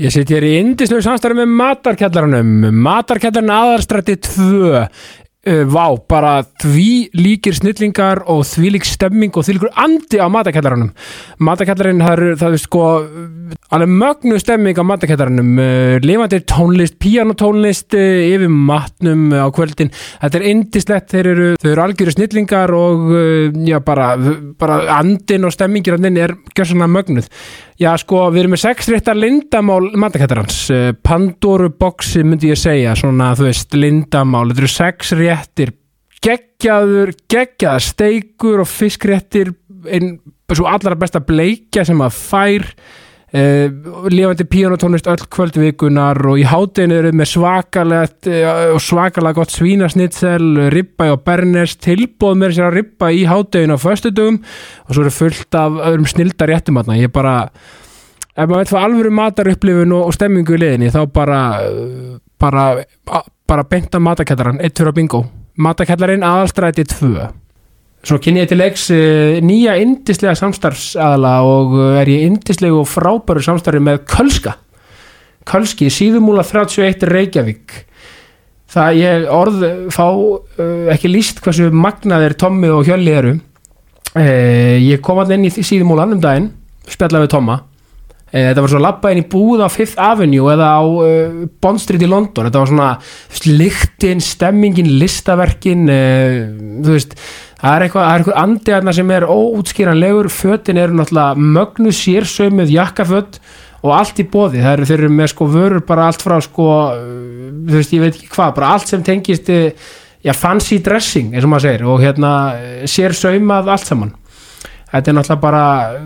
Ég sitt hér í indislegu samstarfi með matarkjallaranum, matarkjallarinn aðarstrætti 2, uh, vá, bara því líkir snillingar og því lík stemming og því líkur andi á matarkjallaranum. Matarkjallarinn, það er, það er sko, uh, alveg mögnu stemming á matarkjallaranum, uh, lifandi tónlist, píanotónlist, uh, yfir matnum uh, á kvöldin, þetta er indislegt, þeir eru, þeir eru algjöru snillingar og, uh, já, bara, bara andin og stemmingir andin er gjössanlega mögnuð. Já, sko, við erum með sex réttar lindamál matakættarans. Pandoru boxi myndi ég segja, svona, þú veist, lindamál. Þetta eru sex réttir, geggjaður, geggjaðar steikur og fiskréttir, einn svo allra besta bleikja sem að fær, eh, lifandi píanotónlist öll kvöldvikunar og í hátinu eru með svakalegt eh, og svakalega gott svínasnitsel, ribba og bernes, tilbóð með sér að ribba í hátinu á föstudugum og svo eru fullt af öðrum snilda réttum aðna. Ég bara, ef maður veit hvað alvöru matarupplifun og, og stemmingu í liðinni, þá bara, uh, bara, a- bara benta matakellaran, eitt fyrir að bingo. Matakellarin aðalstræti 2. Svo kynni ég til leiks uh, nýja indislega samstarfsaðala og uh, er ég indislegu og frábæru samstarfi með Kölska. Kölski, síðumúla 31 Reykjavík. Það ég orð fá uh, ekki líst hversu magnaðir Tommi og Hjölli eru. Eh, ég kom að inn í síðumúlan um daginn spjallaði við Tomma eh, þetta var svo labba inn í búð á Fifth Avenue eða á eh, Bond Street í London þetta var svona þú veist, lyktin, stemmingin listaverkin eh, þú veist, það er eitthvað, það er eitthvað andi aðna sem er óútskýranlegur fötin eru náttúrulega mögnu sér sömuð jakkaföt og allt í bóði það eru þeir eru með sko vörur bara allt frá sko, eh, þú veist, ég veit ekki hvað bara allt sem tengist eh, já, fancy dressing, eins og maður segir og hérna, eh, sér saumað allt saman þetta er náttúrulega bara,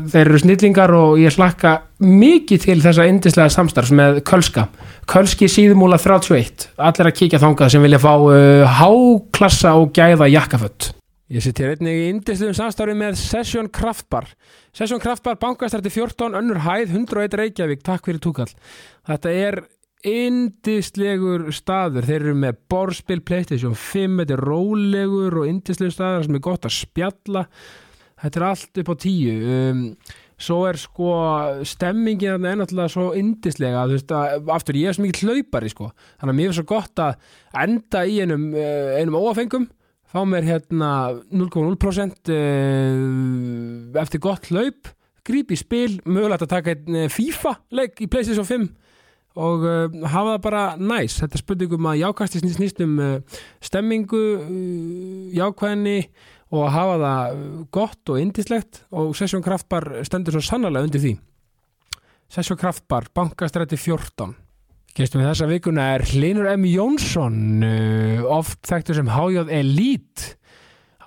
þeir eru snillingar og ég slakka mikið til þessa yndislega samstarfs með Kölska Kölski síðumúla 31 allir að kíkja þangað sem vilja fá uh, háklassa og gæða jakkaföld Ég sitt hér einnig í yndislegum samstarfi með Session Kraftbar Session Kraftbar bankastarti 14 önnur hæð 101 Reykjavík, takk fyrir túkall Þetta er yndislegur staður, þeir eru með borspil, playstation 5, þetta er rólegur og yndislegur staður sem er gott að spjalla þetta er allt upp á tíu um, svo er sko stemmingin þarna er náttúrulega svo yndislega þú veist að aftur ég er svo mikið hlaupari sko þannig að mér er svo gott að enda í einum, eh, einum óafengum fá mér hérna 0,0% eh, eftir gott hlaup gríp í spil, mögulegt að taka einn eh, FIFA leik í Playstation 5 og uh, hafa það bara næs þetta er spurningum að jákasti snýst, snýst um uh, stemmingu uh, jákvæðinni og hafa það uh, gott og indislegt og Session Kraftbar stendur svo sannarlega undir því Session Kraftbar, bankastræti 14 Gestum við þessa vikuna er Hlinur M. Jónsson uh, oft þekktur sem hájóð Elite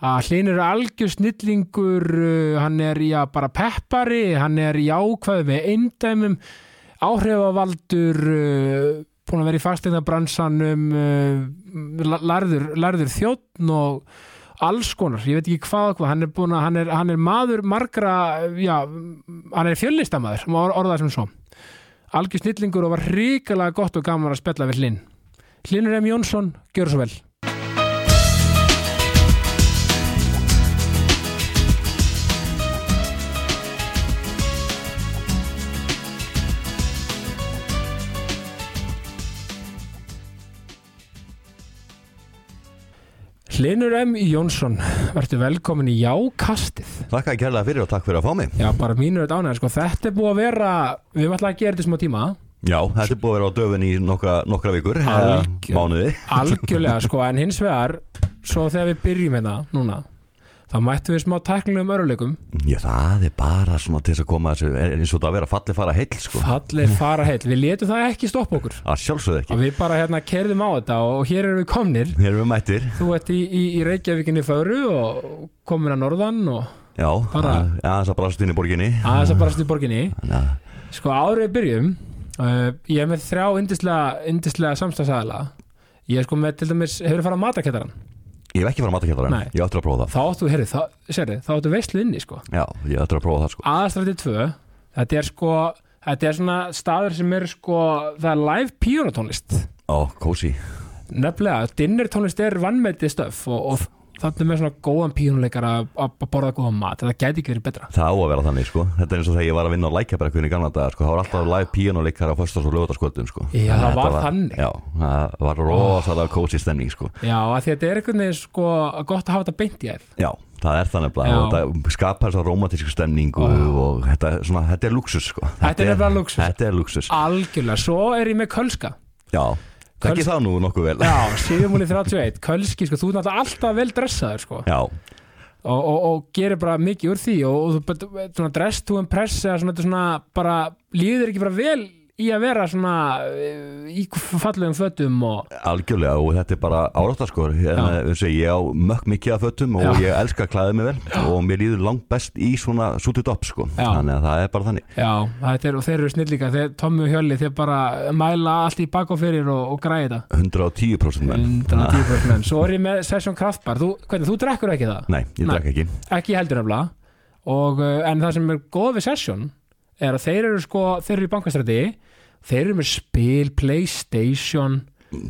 að Hlynur er algjör snillingur uh, hann er já, bara peppari hann er jákvæð með eindæmum áhrifavaldur uh, búin að vera í fastegna bransanum uh, lærður, lærður þjóttn og alls konar, ég veit ekki hvað og hvað hann er, búinn að, hann er, hann er maður margra já, hann er fjöllistamæður má orða það sem svo algjör snillingur og var ríkilega gott og gaman að spella við Hlinn Hlinnur M. Jónsson, gjör svo vel Hlinnur M. Jónsson, verður velkomin í jákastið Takk að kærlega fyrir og takk fyrir að fá mig Já, bara mínu þetta ánægð, sko, þetta er búið að vera, við erum alltaf að gera þetta í smá tíma, Já, þetta er búið að vera á döfun í nokkra, nokkra vikur eða Algjör. Mánuði algjörlega, sko, en hins vegar, svo þegar við byrjum hérna, núna, þá mættum við smá tæknilegum öruleikum, Já, það er bara svona til þess að koma þessu er- er eins og það að vera falli fara heill sko fallir fara heill, við letum það ekki stoppa okkur, Að sjálfsögðu ekki og við bara hérna kerðum á þetta og og hér erum við komnir, Hér erum við mættir þú ert í, í, í Reykjavíkinni föru og komin að norðan og Já, Bara- að- já, þess að brast inn í borginni aðeins að barast í borginni, Þannig að- Sko árið við byrjum uh, Ég er með þrjá yndislega, yndislega samstagsæðala Ég er sko með til dæmis Hefur farið að matakettaran Ég hef ekki fara að matakjæta Nei. Ég áttur að prófa það Þá áttu, heyrðu, þá, sérðu, þá áttu veistlu inni sko Já, ég áttur að prófa það sko Aðastrætti 2 Þetta er sko, þetta er svona staður sem er sko Það er live píjónatónlist Ó, kósi Nefnilega, dinnertónlist er vannmetið stöf og, og þannig með svona góðan pínuleikara að- að borða góðan mat, þetta gæti ekki verið betra Það á að vera þannig sko Þetta er eins og þegar ég var að vinna á lækjabrekkunni í gamla daga sko. Það var alltaf live píjónuleikar á föstas og lögutaskvöldum sko. Já, Þannig það að var þetta þannig. Já, það var rosalega kósi stemning sko. Já, að því að þetta er einhvern veginn sko gott að hafa þetta beint í þér Já, það er þannig bara Já. og Þetta skapar þessa romantísku stemningu og þetta, svona, þetta er luxus sko. Þetta er nefnilega lúxus. Þetta er luxus Algjörlega, svo er ég með kölska Já, Köls- ekki það nú nokkuð vel Já, síðumúli 31, kölski sko, þú er náttúrulega alltaf vel dressaður sko Já, og, og, og gerir bara mikið úr því og, og þú bet- bet- svona dress to impress eða svona, þetta er svona bara líður ekki bara vel í að vera svona eh, í fallegum fötum og algjörlega og þetta er bara árátta sko en, Já. eh, segi, Ég á mökk mikið af fötum og Já. ég elska að klæða mig vel og mér líður langt best í svona sútið upp sko. Já. þannig að það er bara þannig já, þetta er, og þeir eru snillíka þeir Tommi og Hjölli, þeir bara mæla allt í bak og fyrir og, og græði þetta 110% menn 110% menn. svo er ég með Session Kraftbar þú, hvernig, þú drekkur ekki það? Nei, ég Nei. drekk ekki ekki heldur nefnilega og, uh, en það sem er góð við session er að þeir eru sko, þeir eru í bankastræti þeir eru með spil, playstation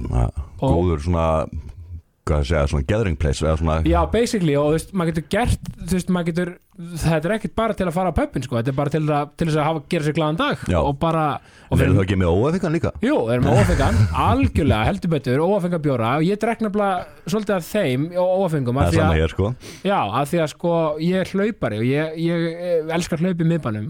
Na, Og- Góður svona Hvað að segja, svona gathering place eða svona, Já, basically, og þú veist, maður getur gert þú veist, maður getur, þetta er ekkert bara til að fara á pöppin, sko, þetta er bara til, að, til þess að hafa gera sér glæðan dag Já. og bara og Og verður fyrir, það ekki með óefingan líka? Jú, þeir eru með óafengan, algjörlega, heldur betur óafengan bjóra og ég drekna bara svolítið af þeim og óafengum, Það af er því sama að, hér sko já, af því að sko, ég er hlaupari og ég, ég eh, elskar hlaupi miðbænum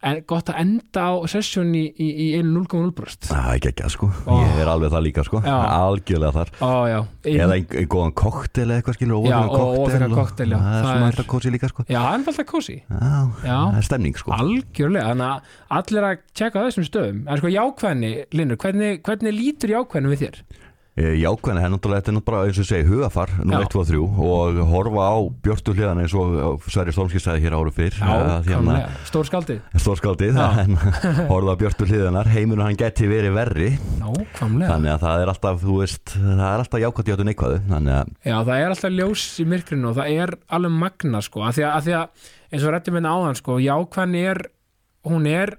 en gott að enda á sessjón í, í, í einu 0,0 brust Það er ekki ekki að sko Ó. Ég er alveg það líka sko Já. Algjörlega þar Ó, já, Inn- Eða ein- ein góðan koktel eða eitthvað skilur Já, óefingan og óáfengan kokteil, já, Það er það svona er- þetta kósi líka sko já, það er alltaf kósi Já, Já. það er stemning sko algjörlega, þannig að allir að tjekka á þessum stöðum, en sko jákvæðni Linur, hvernig, hvernig lítur jákvæðni við þér? Jákvæðan Eh, er náttúrulega þetta er nú bara eins og ég segi hugafar nú Já. 1, 2 og 3 og horfa á björtu hliðan eins og Sverri Stormski sagði hér áru fyrr að því hann- Jákvæðlega, stór skaldið stórskáldið Já. en horfa á björtu hliðanar, heimurinn hann geti verið verri Nákvæmlega, þannig að það er alltaf, þú veist það er alltaf jákvæmt játun neikvæðu þannig að, já það er alltaf ljós í myrkrinu og það er alveg magna sko, af því að, af því að eins og rétti minna áðan sko, jákvæðni er hún er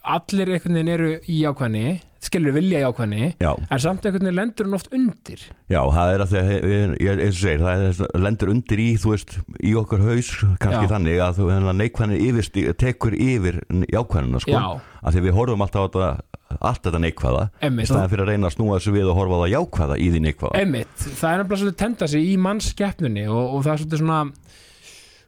allir einhvern veginn eru í jákvæðni skilur vilja jákvæðni já, en samt einhvern veginn lendur hún oft undir já, það er að því að ég- ég- eins og segir, það er, lendur undir í þú veist, í okkar haus kannski Já. þannig að þú- þannig að neikvæðin yfirst tekur yfir jákvæðina sko, Já. að því að við horfum alltaf á þetta allt þetta neikvæða, Einmitt. í staðan fyrir að reyna að snúa þessu við og horfa á það jákvæða í því neikvæða Einmitt, það er nefnilega svolítið tenda sig í mannskeppnunni og, og það er svolítið svona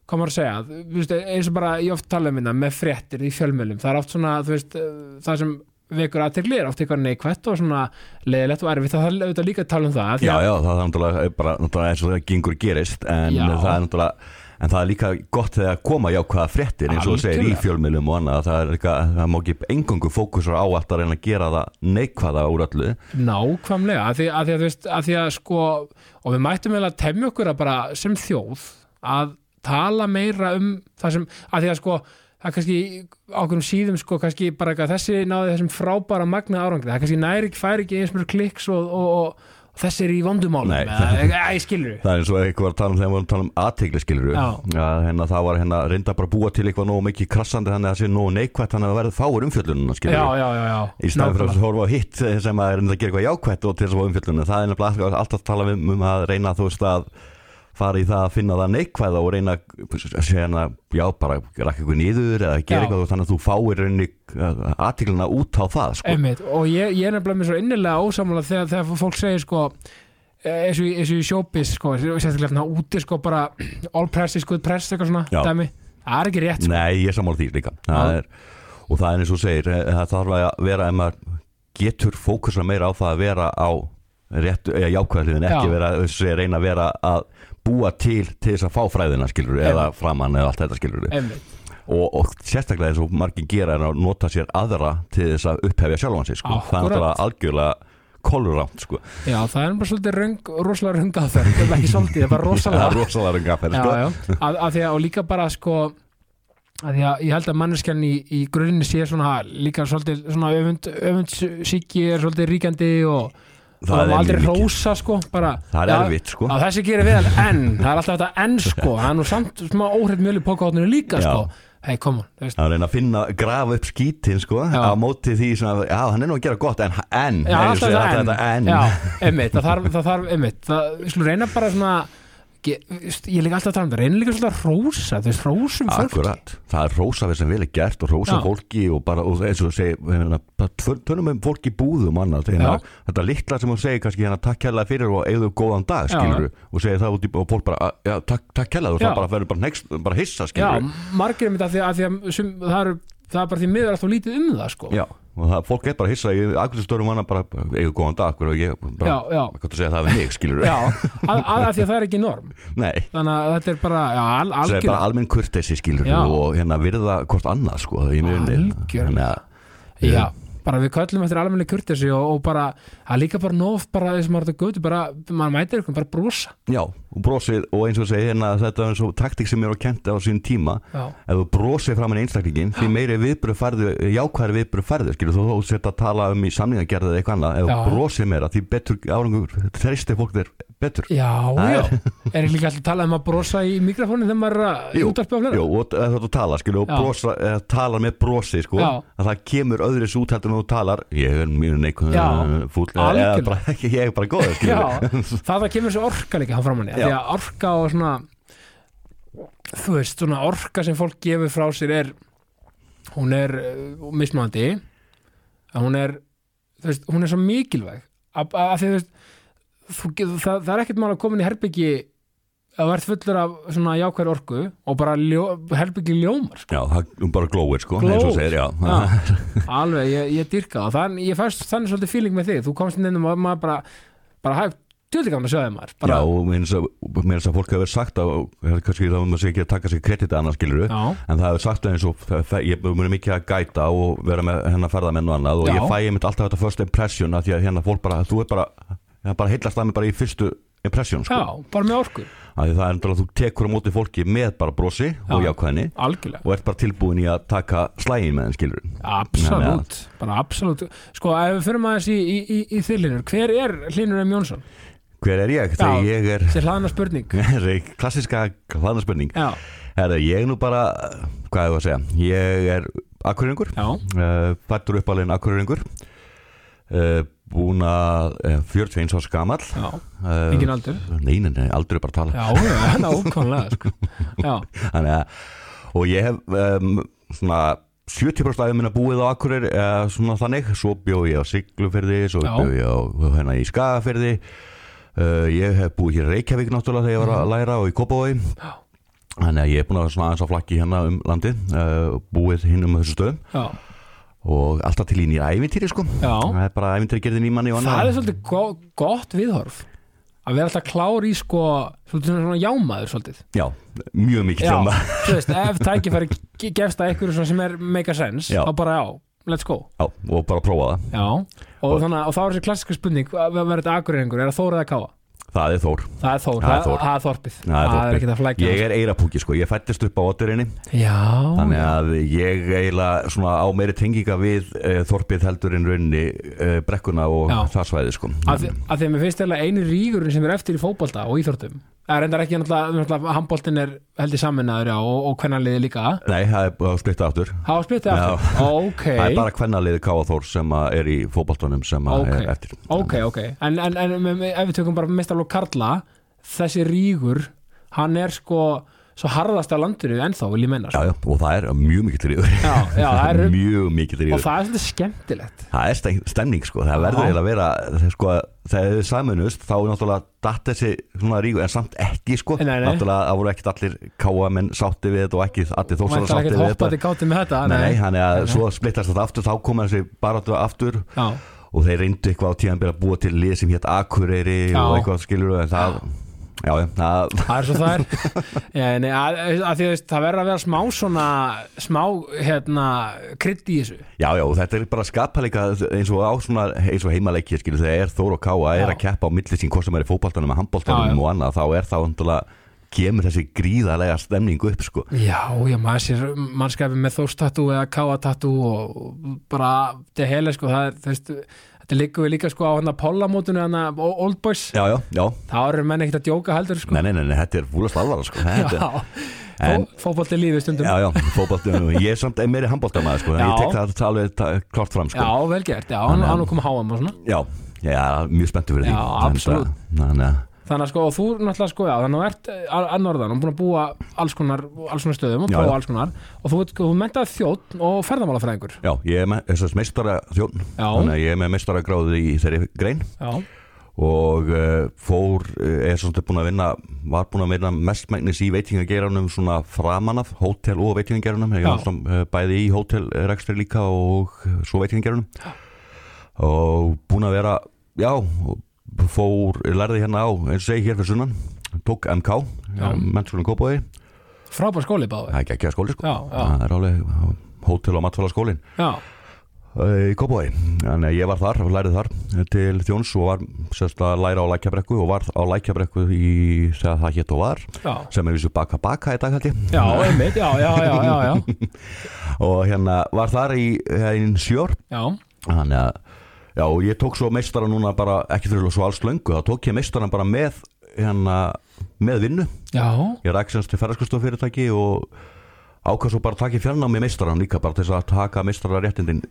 hvað maður að segja, þú veist, eins og bara ég oft tala um minna með fréttir í fjölmjölum það er oft svona, þú veist, eh, það sem vekur aðtegli er oft eitthvað neikvætt og svona leiðilegt og erfitt, það er auðvitað líka að tala um það af því Já, að- já, það er náttúrulega eh, bara náttúrulega eins og það gengur gerist en Já. það er náttúrulega en það er líka gott þegar koma jákvæða fréttir eins og þú segir í Algjörlega. fjölmiðlum og annað það er líka, það má ekki engungu fókusur á allt að reyna að gera það neikvæða úr öllu Nákvæmlega, að því að, því að, þú veist, að, því að sko, og við mættum eiginlega að temja okkur að bara sem þjóð að tala meira um það sem, að því að sko það kannski á okkurum síðum sko kannski bara eitthvað þessi náði þessum frábæra magna árangri, það kannski næri ekki, fær ekki eins mjög klikks og, og, og, og þessi er í vondumálum, Nei. eða ég skilur það er eins og eitthvað var að tala um þegar við vorum að tala um aðtegli skilur Já. að hérna, það var hérna reynda bara að búa til eitthvað nógu mikið krassandi þannig að það sé nógu neikvætt þannig að það verði fáur umfjöllununa Já, skilur já, já, já, í staðin fyrir nákvæmlega. að horfa á hitt sem að er að gera eitthvað jákvætt og til þess að fá umfjöllunum það er nefnilega alltaf að tala um, um að reyna þú veist að fara í það að finna það neikvæða og reyna að segja hana, já bara rakka eitthvað niður eða Já. gera eitthvað þú veist, þannig að þú fáir reyni aðtíkluna út á það sko. Einmitt, og ég, ég er nefnilega mér svo innilega ósamála þegar, þegar fólk segir sko eh, eins og, í- eins og í showbiz sko, sérstaklega þarna úti sko bara all press is good press eitthvað svona Já. dæmi, það er ekki rétt sko. Nei, ég er sammála því líka Já. það er, og það er eins og þú segir eh, það þarf að vera ef maður getur fókusa meira á það að vera á rétt, eða jákvæðliðin ekki Já. vera, segja, reyna að vera að búa til til þess að fá fræðina skilur eða framann eða allt þetta skilur sko. einmitt, og, og sérstaklega eins og margir gera er að nota sér aðra til þess að upphefja sjálfan sig sko. það er Akkúrat. náttúrulega algjörlega koluránt sko. já það er bara svolítið röng, rosalega röng aðferð, það er ekki svolítið, það er bara það er rosalega rosalega rungaferð já, sko. já, að, að því að og líka bara sko að því að ég held að manneskjan í, í grunni sé svona líka svolítið svona öfund, öfund síki er svolítið ríkjandi og Það það er er aldrei mjög mikið. rósa sko bara, það er Já, erfitt sko. Já, þessi gerir vel en, það er alltaf þetta en sko, það er nú samt smá óhrett mjöl í pokahotninu líka Já. sko, hei kom hún, þú veist, Það er að reyna að finna, grafa upp skítin sko, Já. á móti því sem að, já, hann er nú að gera gott en, en, já, eins og alltaf segir, þetta en, þetta en. já, einmitt, það þarf, það þarf, einmitt, það, við slum reyna bara svona ekki, veist, ég er líka alltaf að tala um það reynir líka svolítið að rósa, þú veist, rósum fólki Akkurat, það er rósa við sem vel er gert og rósa Já. fólki og bara, og eins og þú segir, ég meina, bara tvö- tölum um fólki í búðum og annað, þeirna, þetta litla sem hún segir kannski hérna takk kærlega fyrir og eigðu góðan dag, Já. skilur og segir það út í, og fólk bara, að, já, takk, takk kærlega og Já. það bara verður bara, next, bara hissa, Já, skilur margir er mynd að því að, því að sum, það, er, það er bara því miður alltaf lítið um það sko. já, og það, fólk er bara hissa, ég, akkur sem störum annað bara, eigðu góðan dag, hverju og ég, bara, já, já, hvað þú segir það við mig, skilur já að, að, að því að það er ekki norm nei þannig að þetta er bara já, al, Það er bara algjör, almenn kurteisi skilur Já. og hérna virða hvort annað sko í munni Algjörlega. bara- já, bara við köllum eftir almenni kurtesi og, og bara, það er líka bara nóf bara þessum maður þetta götu, bara, maður mætir ykkur bara brosa, Já, og brosið og eins og segir hérna þetta er eins og taktik sem er á kent á sín tíma já, ef þú brosið framan í einstaklingin því meiri viðbröð færðu, jákvæðar viðbröð færðu skilur þú þú sért að tala um í samningagerð eða eitthvað annað, ef þú Já. brosið meira því betur árangur, þreystir fólk þér betur já, Það já er- er ekki líka alltaf talað um að brosa í mikrofónin þegar maður er að Jú, útarpa á Jú, flera og ef þú tala skilur og Já. brosa, eða, talar með brosið sko, Já. að það kemur öðris út heldur en þú talar, ég er mjög Já. neikun fúll, eh, eða- Algjörlega. eða bara, ég er bara góð já, skilur það að kemur svo orka líka hann framann, því Já. að orka og svona þú veist, svona orka sem fólk gefur frá sér er hún er uh, mismandi að hún er þú veist, hún er svo mikilvæg að, að, að því, þú veist, þú, getur- það, það er ekkert mál að komin í herbyggi að verð fullur af svona jákvæður orku og bara ljó, herbyggi ljómar sko. Já, það bara glóir sko, eins og Glóir. segir, já, Já, alveg, ég, ég dyrka það þann, ég fæst þannig svolítið fíling með þig þú komst inn og maður bara, bara hægt tjóðlega gaman að sjá þig maður bara, Já, og mér finnst að fólk hefur sagt að, kannski þá maður sé ekki að taka sér kredit annars skilur Já. en það hefur sagt eins og það- það- ég muni mikið að gæta og vera með hennar ferðamenn og annað og Já. ég fæ einmitt alltaf þetta first impression að því að hérna fólk bara, þú er bara, það bara heillast að mig bara í fyrstu impression sko, já, bara með orku að því það er endurlega þú tekur á móti fólki með bara brosi og Já. jákvæðinni algjörlega, og ert bara tilbúin í að taka slægin með henn skilur absolutt bara absolutt, sko ef við fyrir maður þessi í, í, í, í þillinur, hver er Hlinur M. Jónsson? Hver er ég? Þegar ég er Sér hlaðna spurning Þessi klassiska hlaðnarspurning já, Herra, ég er nú bara, hvað er það að segja, ég er akkurringur, já, uh, fættur uppalinn akkurringur, uh, búin að uh, 41 árs gamall. já, Uh, engin aldur Nei, nei, nei, aldrei bara að tala. já, já, nákvæmlega sko. já, Þannig að, og ég hef um, svona 70% aðeins minna búið á Akureyri, eða svona þannig, svo bjó ég á Siglufyrði, svo Já. bjó ég á hérna í Skagafyrði, uh, ég hef búið hér í Reykjavík náttúrulega þegar ég var að læra og í Kópavogi, Mhm. já, þannig að ég er búin að vera svona aðeins á flakki hérna um landið, uh, búið hinn um þessu stöðum já og alltaf til í nýra ævintýri sko Já. það er bara ævintýri gerðin í manni og það er annað svolítið go gott viðhorf að vera alltaf klár í sko svolítið svona jámaður svolítið já, mjög mikið já, sjáma þú veist, ef tækifæri ge- gefst að einhverju svona sem er make a sense Já. þá bara já, let's go já, og bara prófa það, já, og, Og- þannig, að- og þá er þessi klassiska spurning að vera þetta akureyringur, er það þórið að káa? það er Þór Það er Þór, Það er það Þór. það er Þorpið Það er Það er Þorpið. ekki það flækja ég er eirapúki sko, ég fættist upp á Otterinni Já, þannig að ég eiginlega svona á meiri tenginga við e, Þorpið heldur en raunni e, brekkuna og Já. það svæði sko að því að því að mér finnst eiginlega einu rígurinn sem er eftir í fótbolta og íþórtum Það er endar ekki náttúrulega, náttúrulega handboltin er held ég saminnaður já, og, og hvernanliði líka nei, það er bara splitta aftur Það var splittið aftur, ok það er bara hvernaliði Káa Þór sem að er í fótboltunum sem að Ok. er eftir Ok, ok, en, en, en me- me- ef við tökum bara mestarlók Karla þessi rígur, hann er sko svo harðast af landinu ennþá vil ég menna já, sko. já, og það er mjög mikið til yfir já, já, það er, mjög mikið til yfir og það er svolítið skemmtilegt Það er steng- stemning sko, það verður Já. eiginlega að vera það er sko, þegar þið saminust þá er náttúrulega datt þessi svona ríku en samt ekki sko, Nei, nei. náttúrulega það voru ekkert allir káa menn sátti við þetta og ekki allir og þósar það er sátti ekki við hoppað þetta til gátti með þetta Nei, nei, þannig að Nei, nei. svo splittast þetta aftur þá koma þessi baráttu aftur Já, og þeir reyndu eitthvað á tíðan að búa til lið sem hétt Akureyri Já. og eitthvað skilur en það, já, já, það Það er svo það er Já, nei, að, að því, þú veist, Það verður að vera smá svona smá hérna krydd í þessu Já, já, og þetta er bara að skapa líka eins og á svona, eins og heimaleiki skilur, þegar er Þór og Káa er Já. að keppa á milli sín hvort sem er í fótboltanum og handboltanum Já, já. og annað, þá er þá endurlega kemur þessi gríðarlega stemning upp sko. Já, já, maður sér mannskapi með þórstatú eða káatatú og og bara þetta er heila sko það, er, þú veist, þetta liggur við líka sko á hann að pollamótinu hann að Old Boys Já, já, já þá eru menn ekkert að djóka heldur sko Nei, nei, nei, nei þetta er fúlast alvara sko. Þetta, Já, En- fótbolti lífi stundum Já, já, fótboltanum Ég er samt meiri handboltamaður sko, en Já. ég tek það alveg ta- klárt fram sko. já vel gert, já, hann Þannig að- hann kom að háa maður svona já, ég er mjög spenntur fyrir því Já, absolutt. Þannig að- þannig að þannig að sko, og þú náttúrulega sko, já, þannig að þú ert eh, að að norðan og búin að búa alls konar, alls konar stöðum og Já, prófa já. alls konar og þú, ert- sko, þú mentaði þjótt og ferðamálafræðingur Já, ég er með þessast meistara þjón Já. Þannig að ég er með meistara gráði í þeirri grein já, og uh, fór, uh, er svolítið búin að vinna var búin að vinna mestmægnis í veitingageiranum svona framan af hótel og veitingageiranum, ég Já. var svona, uh, bæði í hótelrekstri líka og svo veitingageiranum og búin að vera, já fór, lærði hérna á eins og segi hér fyrir sunnan, tók MK Já. mennskólinn Kópaði, frábær skóli báði það er ekki ekki að skóli sko já, já, það er alveg hótel og matfæla skólin já, í Kópói þannig að ég var þar og lærið þar til þjóns og var sérst að læra á lækjabrekku og var á lækjabrekku í þegar það hétt og var já sem er vissu baka baka í dag haldi já, einmitt, já, já, já, já, já og hérna var þar í eh, einn sjör já, þannig að já og ég tók svo meistara núna bara ekki fyrir svo alls löngu þá tók ég meistara bara með hérna með vinnu já, ég ræk semst til ferðarskustofyrirtæki og ákvæð svo bara að taka í fjarnámi meistaran líka bara til þess að taka meistara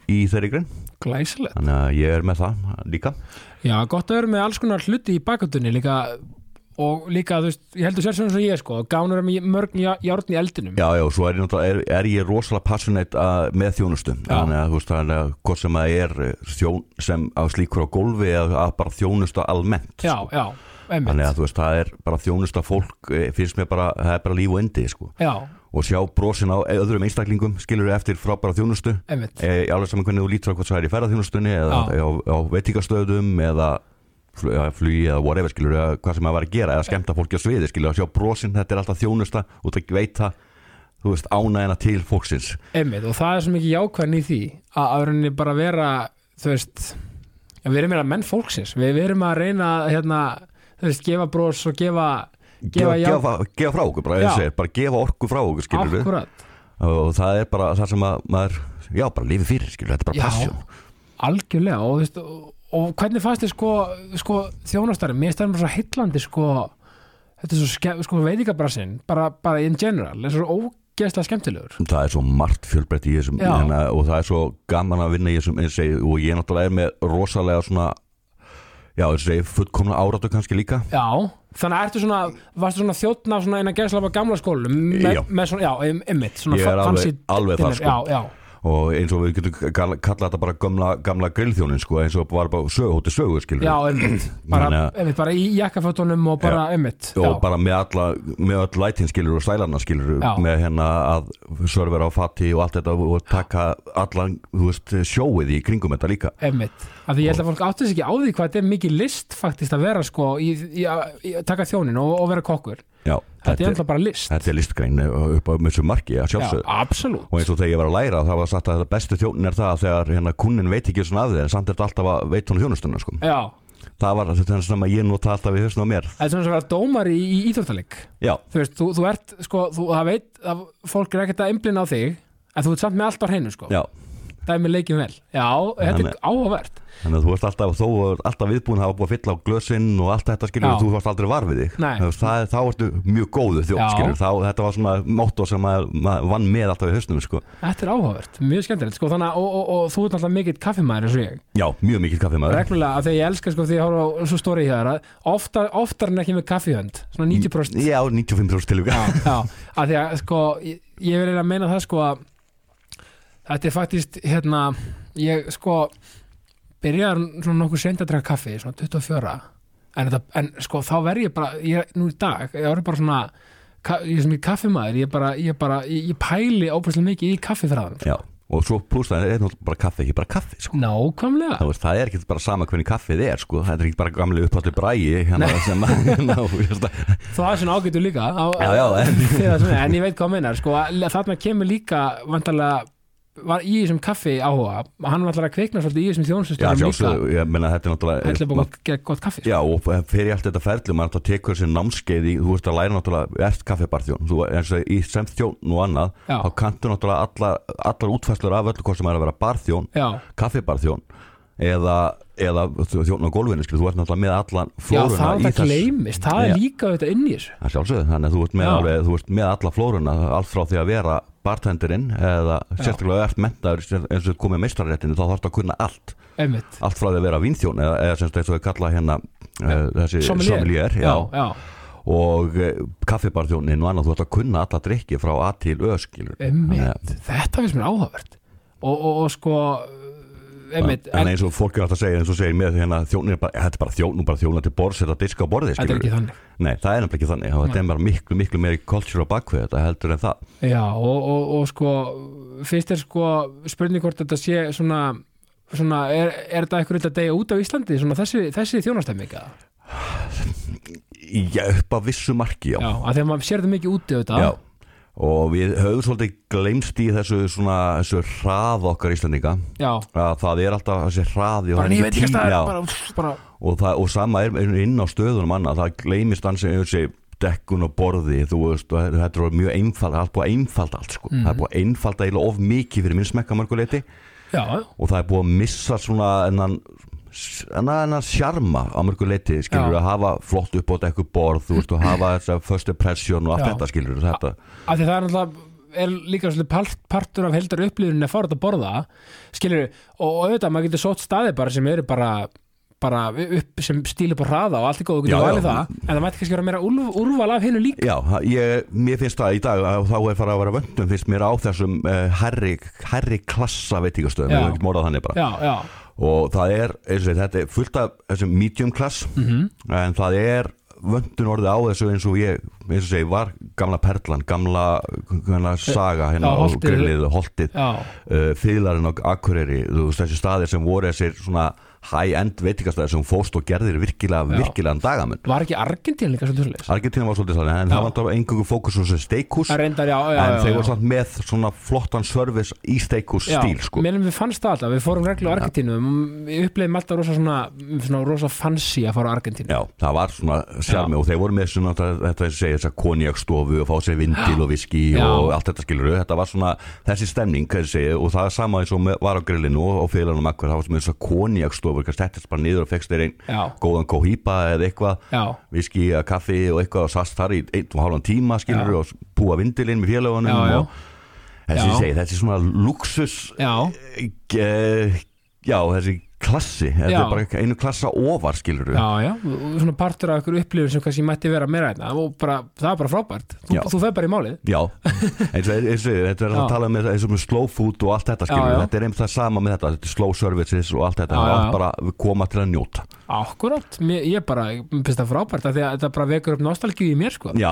í þeirri grinn glæsilegt þannig að ég er með það líka já, gott að vera með alls konar hluti í bakundunni líka og líka, þú veist, ég heldur sér svona svo ég sko, gánur með mörg já- járn í eldinum Já, já, svo er ég, náttúrulega- er, er ég rosalega passionate að, með þjónustu Já. þannig að, þú veist, þannig að hvort sem að er eh, þjón, sem að slíkur á gólfi að, að bara þjónusta almennt já, já, þannig einmitt að þú veist, það er bara þjónusta fólk eh, finnst mér bara, það er bara líf og endi sko. já, og sjá brosin á öðrum einstaklingum skilur eftir frábæra þjónustu einmitt, e, alveg saman hvernig þú lítur á hvort það er í ferðarþjónustunni eða Já. á, á veitingastöðum eða fl- eða flugi eða whatever skilur eða hvað sem að vera að gera eða skemmta fólki á sviði skilur að sjá brosin, þetta er alltaf þjónusta og það veita, þú veist, ánægina til fólksins einmitt og það er svo mikið jákvæðan í því að að rauninni bara vera, þú veist já, við erum meira menn fólksins, við, við erum að reyna að, hérna, þú veist, gefa bros og gefa, gefa, já- gefa, gefa frá okkur, bara, Já. þessi, bara gefa orku frá okkur skilur akkurat, og það er bara það sem að maður, já, bara lifi fyrir skilur, þetta er bara Já. passion algjörlega og, þú veist, og, og hvernig fannst þið sko, sko þjónastari, mér stæðum svo heitlandi sko, þetta er svo skef, sko veitingabrassinn, bara, bara in general er svo ógeðslega skemmtilegur það er svo margt fjölbreytt í þessum Já. hérna, og það er svo gaman að vinna í þessum eins og ég segi, og ég náttúrulega er með rosalega svona já, eins og ég segi, fullkomna áratu kannski líka Já, þannig að ertu svona, varstu svona þjóttna svona eina geðslega á gamla skólu með, Já. með svona, já, im- einmitt svona Ég er fa- alveg- fancy alveg þar, dinner, sko. Já, já, og eins og við getum kall- kallað þetta bara gamla, gamla grillþjónin sko, eins og var bara sögu, hóti sögu skilur já, einmitt bara, Þannig að- einmitt, bara í jakkafötunum og bara, einmitt og já, bara með alla með öll lætin skilur og stælarna skilur Já. með hérna að servera á fati og allt þetta og taka allan þú veist, sjóið í kringum þetta líka einmitt, af því ég held að fólk átti sig ekki á því hvað þetta er mikið list faktist að vera sko í, í, í, í taka þjónin og, og vera kokkur já, þetta er alltaf bara list þetta er listgrein eh, upp á mjög marki að Já, sjálfsögðu absolutt og eins og þegar ég var að læra það var sagt að þetta bestu þjónin er það að þegar hérna kunnin veit ekki svona af þér en samt er þetta alltaf að veit hún þjónustuna sko. Já, það var þetta er sem að ég nota alltaf í hausnum á mér þetta er svona sem að vera dómari í, í íþróttaleg já, þú veist, þú, þú ert, sko, þú, það veit að fólk er ekkert að einblina á þig en þú ert samt með allt á hreinu, sko já dæmi leikin vel, já, þetta er Þannig- áhugavert þannig að þú ert alltaf, þú ert alltaf viðbúin að hafa búið að fylla á glösinn og allt þetta skilur Já. þú varst aldrei var við þig Nei. Þú veist, það, þá ertu mjög góðu þjóð Já. skilur þá, þetta var svona mótó sem maður, maður vann með alltaf í hausnum sko. þetta er áhugavert, mjög skemmtilegt, sko þannig að, og, og, og þú ert náttúrulega mikill kaffimæður eins og ég, já, mjög mikill kaffi maður reglulega af því að ég elska, sko, því ég horfa á svo stóri hér oftar, oftar en ekki með kaffihönd svona 90% já, 95% tilvíka já, já, að því að sko ég, ég vil eiginlega meina það sko að þetta er faktist hérna ég sko byrjar svona nokkuð sent að draka kaffi svona 24 en, þetta, en sko þá verð ég bara ég, nú í dag, ég verð bara svona ka- ég er sem ég kaffimæður, ég bara ég, bara, ég, ég pæli óbúrslega mikið í kaffifræðan já, og svo pluss það er náttúrulega bara kaffi ekki bara kaffi sko. nákvæmlega Þú veist, það er ekki bara sama hvernig kaffið er sko. það er ekki bara gamli upphaldi bræi hérna, sem að hérna, þú veist að- það er svona ágætu líka á, Já, já, en- þegar það svona, en ég veit hvað minnar sko, að þarna kemur líka vantarlega var í þessum kaffi áhuga hann var alltaf að kveikna svolítið í þessum já, þjónsustöðum líka sjálfsögðu, ég meina þetta er náttúrulega heldur bara að gera gott kaffi sko. Já, og fyrir allt þetta ferli maður náttúrulega tekur sér námskeið í, þú veist að læra náttúrulega ert kaffibarþjón, þú eins og í sem þjón og annað, Já. þá kanntu náttúrulega allar, allar útfæslur af öllu hvort sem er að vera barþjón, já, kaffibarþjón eða, eða þjón á gólfinu, skil, þú ert náttúrulega með allan já flóruna það er í það gleymist það Já. er líka auðvitað inn í þessu Það sjálfsögðu, þannig að þú ert með, Já. alveg, þú ert með alla flóruna, allt frá því að vera bartenderinn eða sérstaklega ert mentaður sér- eins og þú ert komið meistarréttinu, þá þarfst að kunna allt einmitt, allt frá því að vera vínþjón eða, eða semst eins og við kalla hérna uh, þessi Sommelier. sommelier já, já, já, og uh, kaffibarþjónin og annað þú ætti að kunna alla drikki frá A til Ö skilur einmitt, þetta finnst mér áhugavert og, og, og sko eh, einmitt, en en, eins og fólk er alltaf að segja eins og segir með hérna þjónin er bara, þetta er bara þjón, hún bara þjónar til borðs þetta diska á borði þetta er ekki þannig Nei, það er nefnilega ekki þannig, það er bara miklu, miklu meiri culture á bakvið þetta heldur en það Já, og, og, og sko fyrst er sko spurning hvort þetta sé svona, svona er, er þetta eitthvað að deyja út af Íslandi svona þessi, þessi þjónastæmminga Já, upp að vissu marki, já, Já, af því að maður sér það mikið úti auðvitað Já. Og við höfum svolítið glemst í þessu svona, þessu hrað okkar Íslandinga já að það er alltaf þessi hraði bara og, það er nýjum ekki veitingastæður, tími- já. bara, pff, bara og, það- og sama er er inn á stöðunum annað, það gleymist hans þessi dekkun og borði, þú veist og þetta er mjög einfald, það er búið að einfalda allt sko. Mhm. það er búið að einfalda eiginlega of mikið fyrir minn smekka mörguleiti Já, og það er búið að missa svona ennan ennan sjarma á mörgu leiti skilur Já. að hafa flott upp á dekku borð þú veist og hafa þess að first impression og allt Já. þetta skilur þetta af því það er náttúrulega er líka svolítið part, partur af heldar upplifinu að fara út að borða skilur, og, og auðvitað maður getur sótt staði bara sem eru bara, bara upp sem stílu på hraða og allt er góð og getur Já, valið já. það en það mætti kannski vera meira úlf, úrval af hennu líka Já, það- ég, mér finnst það í dag að þá er farið að vera vöndum finnst mér á þessum uh, herri, herri klassa veitingastöðum, Já. ég hef ekki morðað þannig bara já, já, og það er, eins og þetta er fullt af þessum medium class Mhm. en það er vöndun orðið á þessu eins og ég, eins og segi, var gamla perlan, gamla, gamla saga Eh, hérna Já, á holtið. grillið, holtið já, uh, fýðlarinn og akureyri, þú veist þessi staðir sem voru þessir svona high-end veitingastæðir sem fóst og gerðir virkilega, Já. virkilega dagamun. var ekki Argentín líka svolítið svolítið Argentina var svolítið þannig, en Já. það var þá engungu fókus á þessi steikhús það reyndar, já, já, já, en já, þeir voru já. samt með svona flottan service í steikus Já, stíl sko. Mér við fannst það alltaf, við fórum reglu á Argentínu Við upplegum alltaf rosa svona, svona rosa fancy að fara á Argentínu Já, það var svona sjarmi og þeir voru með svona, þetta þetta eins og segja, þessa konjakstofu og fá sér vindil og viski Já. og allt þetta skilur þetta var svona þessi stemning hvað ég segi, og það er sama eins og með- var á grillinu og, og félagunum akkur, það var sem þess að konjakstofu kannski settist bara niður og fekst þeir einn Já, góðan kóhýpa eða eitthvað já, viski eða kaffi og eitthvað og sast þar í einn og hálfan tíma skilur Já. og búa vindilinn með félagunum Já, já. og þessi Já. ég segi, þessi svona luxus já, Eh, já, þessi klassi þetta Já. er bara einu klassa ofar skilur já, já og Svona partur af ykkur upplifur sem kannski mætti vera meira einna og bara, það er bara frábært Þú, Já. þú fer bara í málið Já, eins og eins og þetta er Já. að tala um eins og með slow food og allt þetta skilur Já, já. þetta er einmitt það sama með þetta, þetta er slow services og allt þetta, Já, það er já. allt bara að koma til að njóta Akkurát, mér, ég bara, ég finnst það frábært af því að þetta bara vekur upp nostalgíu í mér sko Já,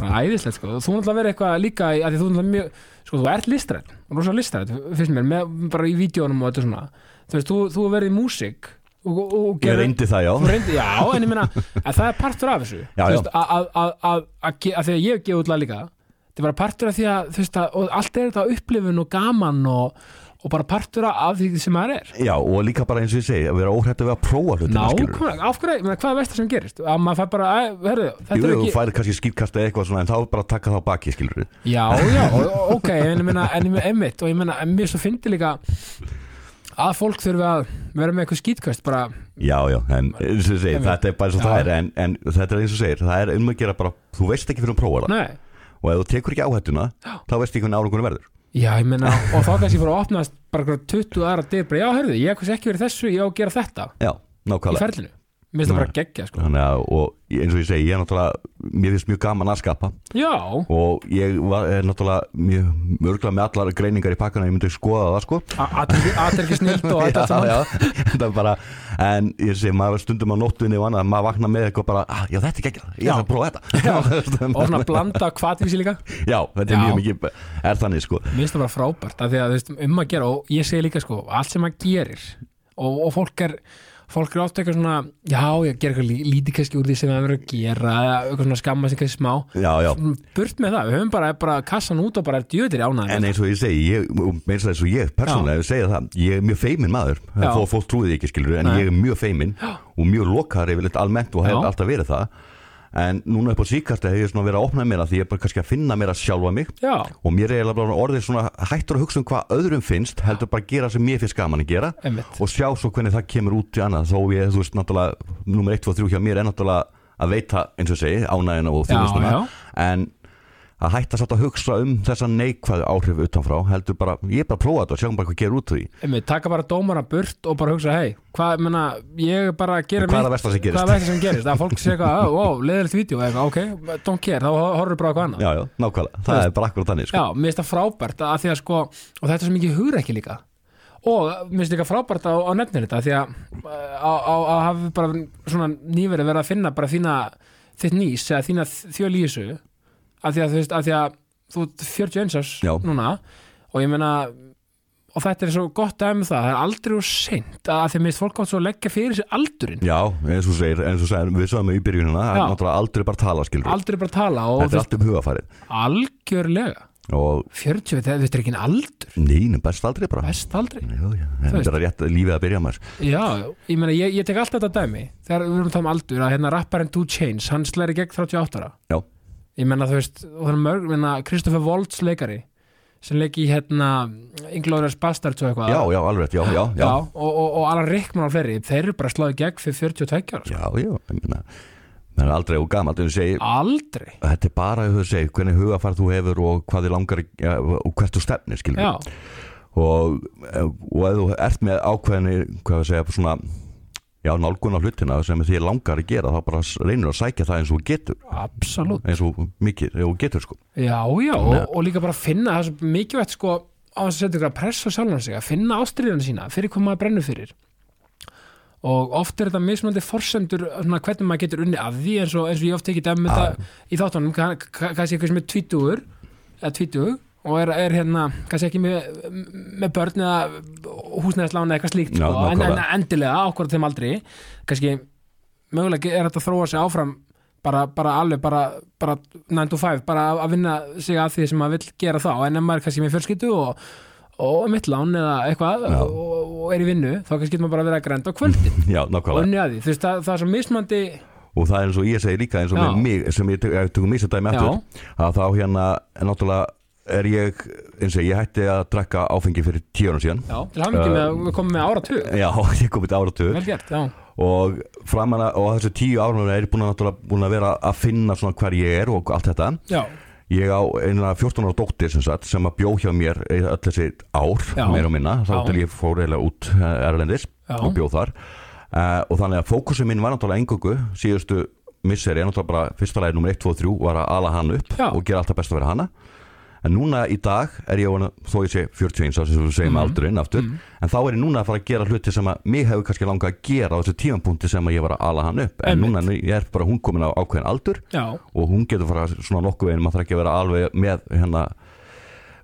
Bara æðislegt sko, þú náttúrulega verið eitthvað líka í- af því þú náttúrulega mjög, sko þú ert listræn rosa listræn, finnst mér, með, bara í vídjónum og þetta svona, þú veist, þú, þú hefur verið í músík og, og, og ég gerðir- reyndi það já Þú reyndi, já, en ég meina að það er partur af þessu Já, Þú já. veist, að, að, að, að, að, ge- að því að ég gefa út lag líka þetta er bara partur af því að, þú veist, að og allt er þetta upplifun og gaman og, og bara partur af því sem maður er Já, og líka bara eins og ég segi, að vera óhrætt að vera að prófa hlutina skilur Nákvæmlega, af hverju, ég meina, hvað er veist það sem gerist að maður fær bara, æ, herðu, þetta Jú, er þú ekki færið kannski skýrkasta eitthvað svona en þá bara að taka það á baki skilur Já, já, og- og- ok, en ég meina en ég meina, einmitt, og ég meina, en mér svo fyndi líka að fólk þurfi að vera með eitthvað skýtkvæst, bara Já, já, en eins og ég segi, Einmitt. þetta er bara eins og Já. það er en, en þetta er eins og ég segir, það er um að gera bara þú veist ekki fyrir að prófa það nei, og ef þú tekur ekki áhættuna þá veist ekki hvernig árangunum verður Já, ég meina, og þá kannski bara opnaðast bara einhverjar 20 aðra dyr, bara já, hörðu, ég hef ekki verið þessu, ég á að gera þetta já, í nákvæmlega ferlinu. Mér finnst það Nei. bara geggja, sko. Þannig að, og eins og ég segi, ég er náttúrulega mér finnst mjög gaman að skapa Já, og ég var, er náttúrulega mjög mörgla með allar greiningar í pakkana ég myndi skoða það sko aðterki snilt og Já, þetta saman. já, þetta er bara en ég segi, maður stundum á nóttunni og annað, maður vaknar með eitthvað bara, ah, já þetta er ekki ég Já. ætla að prófa þetta Og svona blanda kvatvísi líka. já, þetta er Já. mjög mikið er þannig sko, Mér finnst það bara frábært, af því að þú veist, um að gera, og ég segi líka, sko, allt sem maður gerir, og, og fólk er, fólk er oft eitthvað svona, já, ég ger eitthvað lí- lítið kannski úr því sem maður verið að gera, eða eitthvað svona skamma sem kannski smá. já, já Burt með það, við höfum bara, bara kassan út og bara er djöðir En ánæðin. eins og ég segi, ég, og eins og eins og ég persónulega segja það, ég er mjög feiminn maður Já. þó að fólk trúið ekki skilur, en Nei. ég er mjög feiminn og mjög lokar yfirleitt almennt og Já. hef alltaf verið það en núna upp á síkast hef ég svona verið að opna mér að því ég er bara kannski að finna mér að sjálfa mig Já, og mér er eiginlega bara orðið svona hættur að hugsa um hvað öðrum finnst heldur bara að gera sem mér finnst gaman að gera emmitt. og sjá svo hvernig það kemur út í annað þó ég, þú veist, náttúrulega, nummer 1, 2, 3 hjá mér er náttúrulega að veita, eins og ég segi, ánægina og Já, þjónustuna já. en að hætta satt að hugsa um þessa neikvæðu áhrif utanfrá, heldur bara, ég er bara að prófa þetta og sjáum bara hvað gerur út úr því Einmitt, taka bara dómara burt og bara hugsa hei, hvað, menna, ég er bara að gera En hvað er mitt- það versta sem gerist? Hvað er versta sem gerist? Að fólk sé eitthvað, "Ó, wow, leðilegt vídeo eitthvað, ok, don't care, þá horfum við bara á eitthvað annað Já, já, nákvæmlega, það er bara akkur þannig sko. Já, mér finnst það frábært að því að sko og þetta er svo mikið hugur ekki líka og mér finnst líka frábært á, á nefnir þetta því að eh, á, á, á hafi bara svona nýverið verið að finna bara þína þitt nýs eða þína þjóli í þessu að því að þú veist að því að þú ert 41 árs Já. núna og ég meina og þetta er svo gott dæmi um það, það er aldrei og seint að af því að mér finnst fólk átt svo að leggja fyrir sér aldurinn Já, eins og þú segir, eins og þú segir, við sögum í byrjunina, það Já. er náttúrulega aldrei bara tala skilur aldrei bara tala og þú Þetta er veist allt um hugafarið algjörlega og 40, þetta þetta er ekki aldur, neynum best aldrei bara best aldrei Já, já, en veist. þetta er rétt lífið að byrja maður Já, ég meina, ég, ég tek alltaf þetta dæmi þegar við erum að tala um aldur að hérna rapparinn 2 Chainz, hann slæri gegn 38 ára Já, ég meina þú veist, og það er mörg ég meina, Kristoffer Waltz leikari sem leiki í hérna Inglourious Bastards og eitthvað já, já, alveg rétt, já, já, já Já, og, og, og Alan Rickman og fleiri þeir eru bara sláði gegn fyrir 42 ára sko. Já, já, ég meina Það er aldrei og gamalt, þú segir aldrei, Þetta er bara, þú segir, hvernig hugafar þú hefur og hvað þið langar ja, og hvert þú stefnir, skilur já, og, eh, og ef þú ert með ákveðinni hvað við segja, svona já, nálgun á hlutina sem þið langar að gera þá bara s- reynir að sækja það eins og þú getur absolutt eins og mikið, eins og þú getur sko Já, já, Þannig og, að- og líka bara finna það er svo mikilvægt sko á þess að setja ykkur að pressa sjálfan sig að finna ástriðan sína fyrir hvað maður brennur fyrir og oft er þetta mismunandi forsendur svona, hvernig maður getur unni að því eins og, eins og ég oft tekið dæmi með Ah. þetta í þáttunum kann- kann- kannski eitthvað sem er tvítugur eða tvítug og er, er hérna kannski ekki með, með börn eða húsnæðislána eða eitthvað slíkt Já, sko, en, nákvæmlega. en endilega ákvörð þeim aldrei kannski mögulega er þetta að þróa sig áfram bara, bara alveg bara, bara 9 to 5, bara að- að vinna sig að því sem maður vill gera þá, en ef maður er kannski með fjölskyldu og, og mitt lán eða eitthvað Já. og, og er í vinnu, þá kannski getur maður bara að vera að grenda á kvöldin já, og nákvæmlega, unni að því, þú veist, það, það er svo mismandi og það er eins og ég segi líka eins og Já. með mig, sem ég tek- ef ég tökum mig sem dæmi Já. aftur, að þá hérna en náttúrulega er ég eins og ég hætti að drakka áfengi fyrir tíu árum síðan já, til hafa mikið með Uh, að við komum með áratug já, ég komið til áratug vel gert, já, og framan að, og þessu tíu árum er ég búin að, náttúrulega búin að vera að finna svona hver ég er og allt þetta já, Ég á einna 14 ára dóttir sem, sagt, sem að bjó hjá mér í öll þessi ár, Já. meir og minna, þá Já. til ég fór eiginlega út eh, erlendis Já. og bjó þar uh, og þannig að fókusin minn var náttúrulega engungu síðustu misseri, náttúrulega bara fyrsta lagi nummer 1, 2 og 3 var að ala hann upp Já. og gera alltaf best að vera hana en núna í dag er ég, orðinn- þó ég sé 41 ára sem við segjum Mhm. mm. aldurinn aftur en þá er ég núna að fara að gera hluti sem að mig hefur kannski langað að gera á þessu tímanpunkti sem að ég var að ala hann upp en Einmitt. núna ég er bara hún komin á ákveðin aldur já og hún getur fara svona nokkuð veginn maður þarf ekki að vera alveg með hérna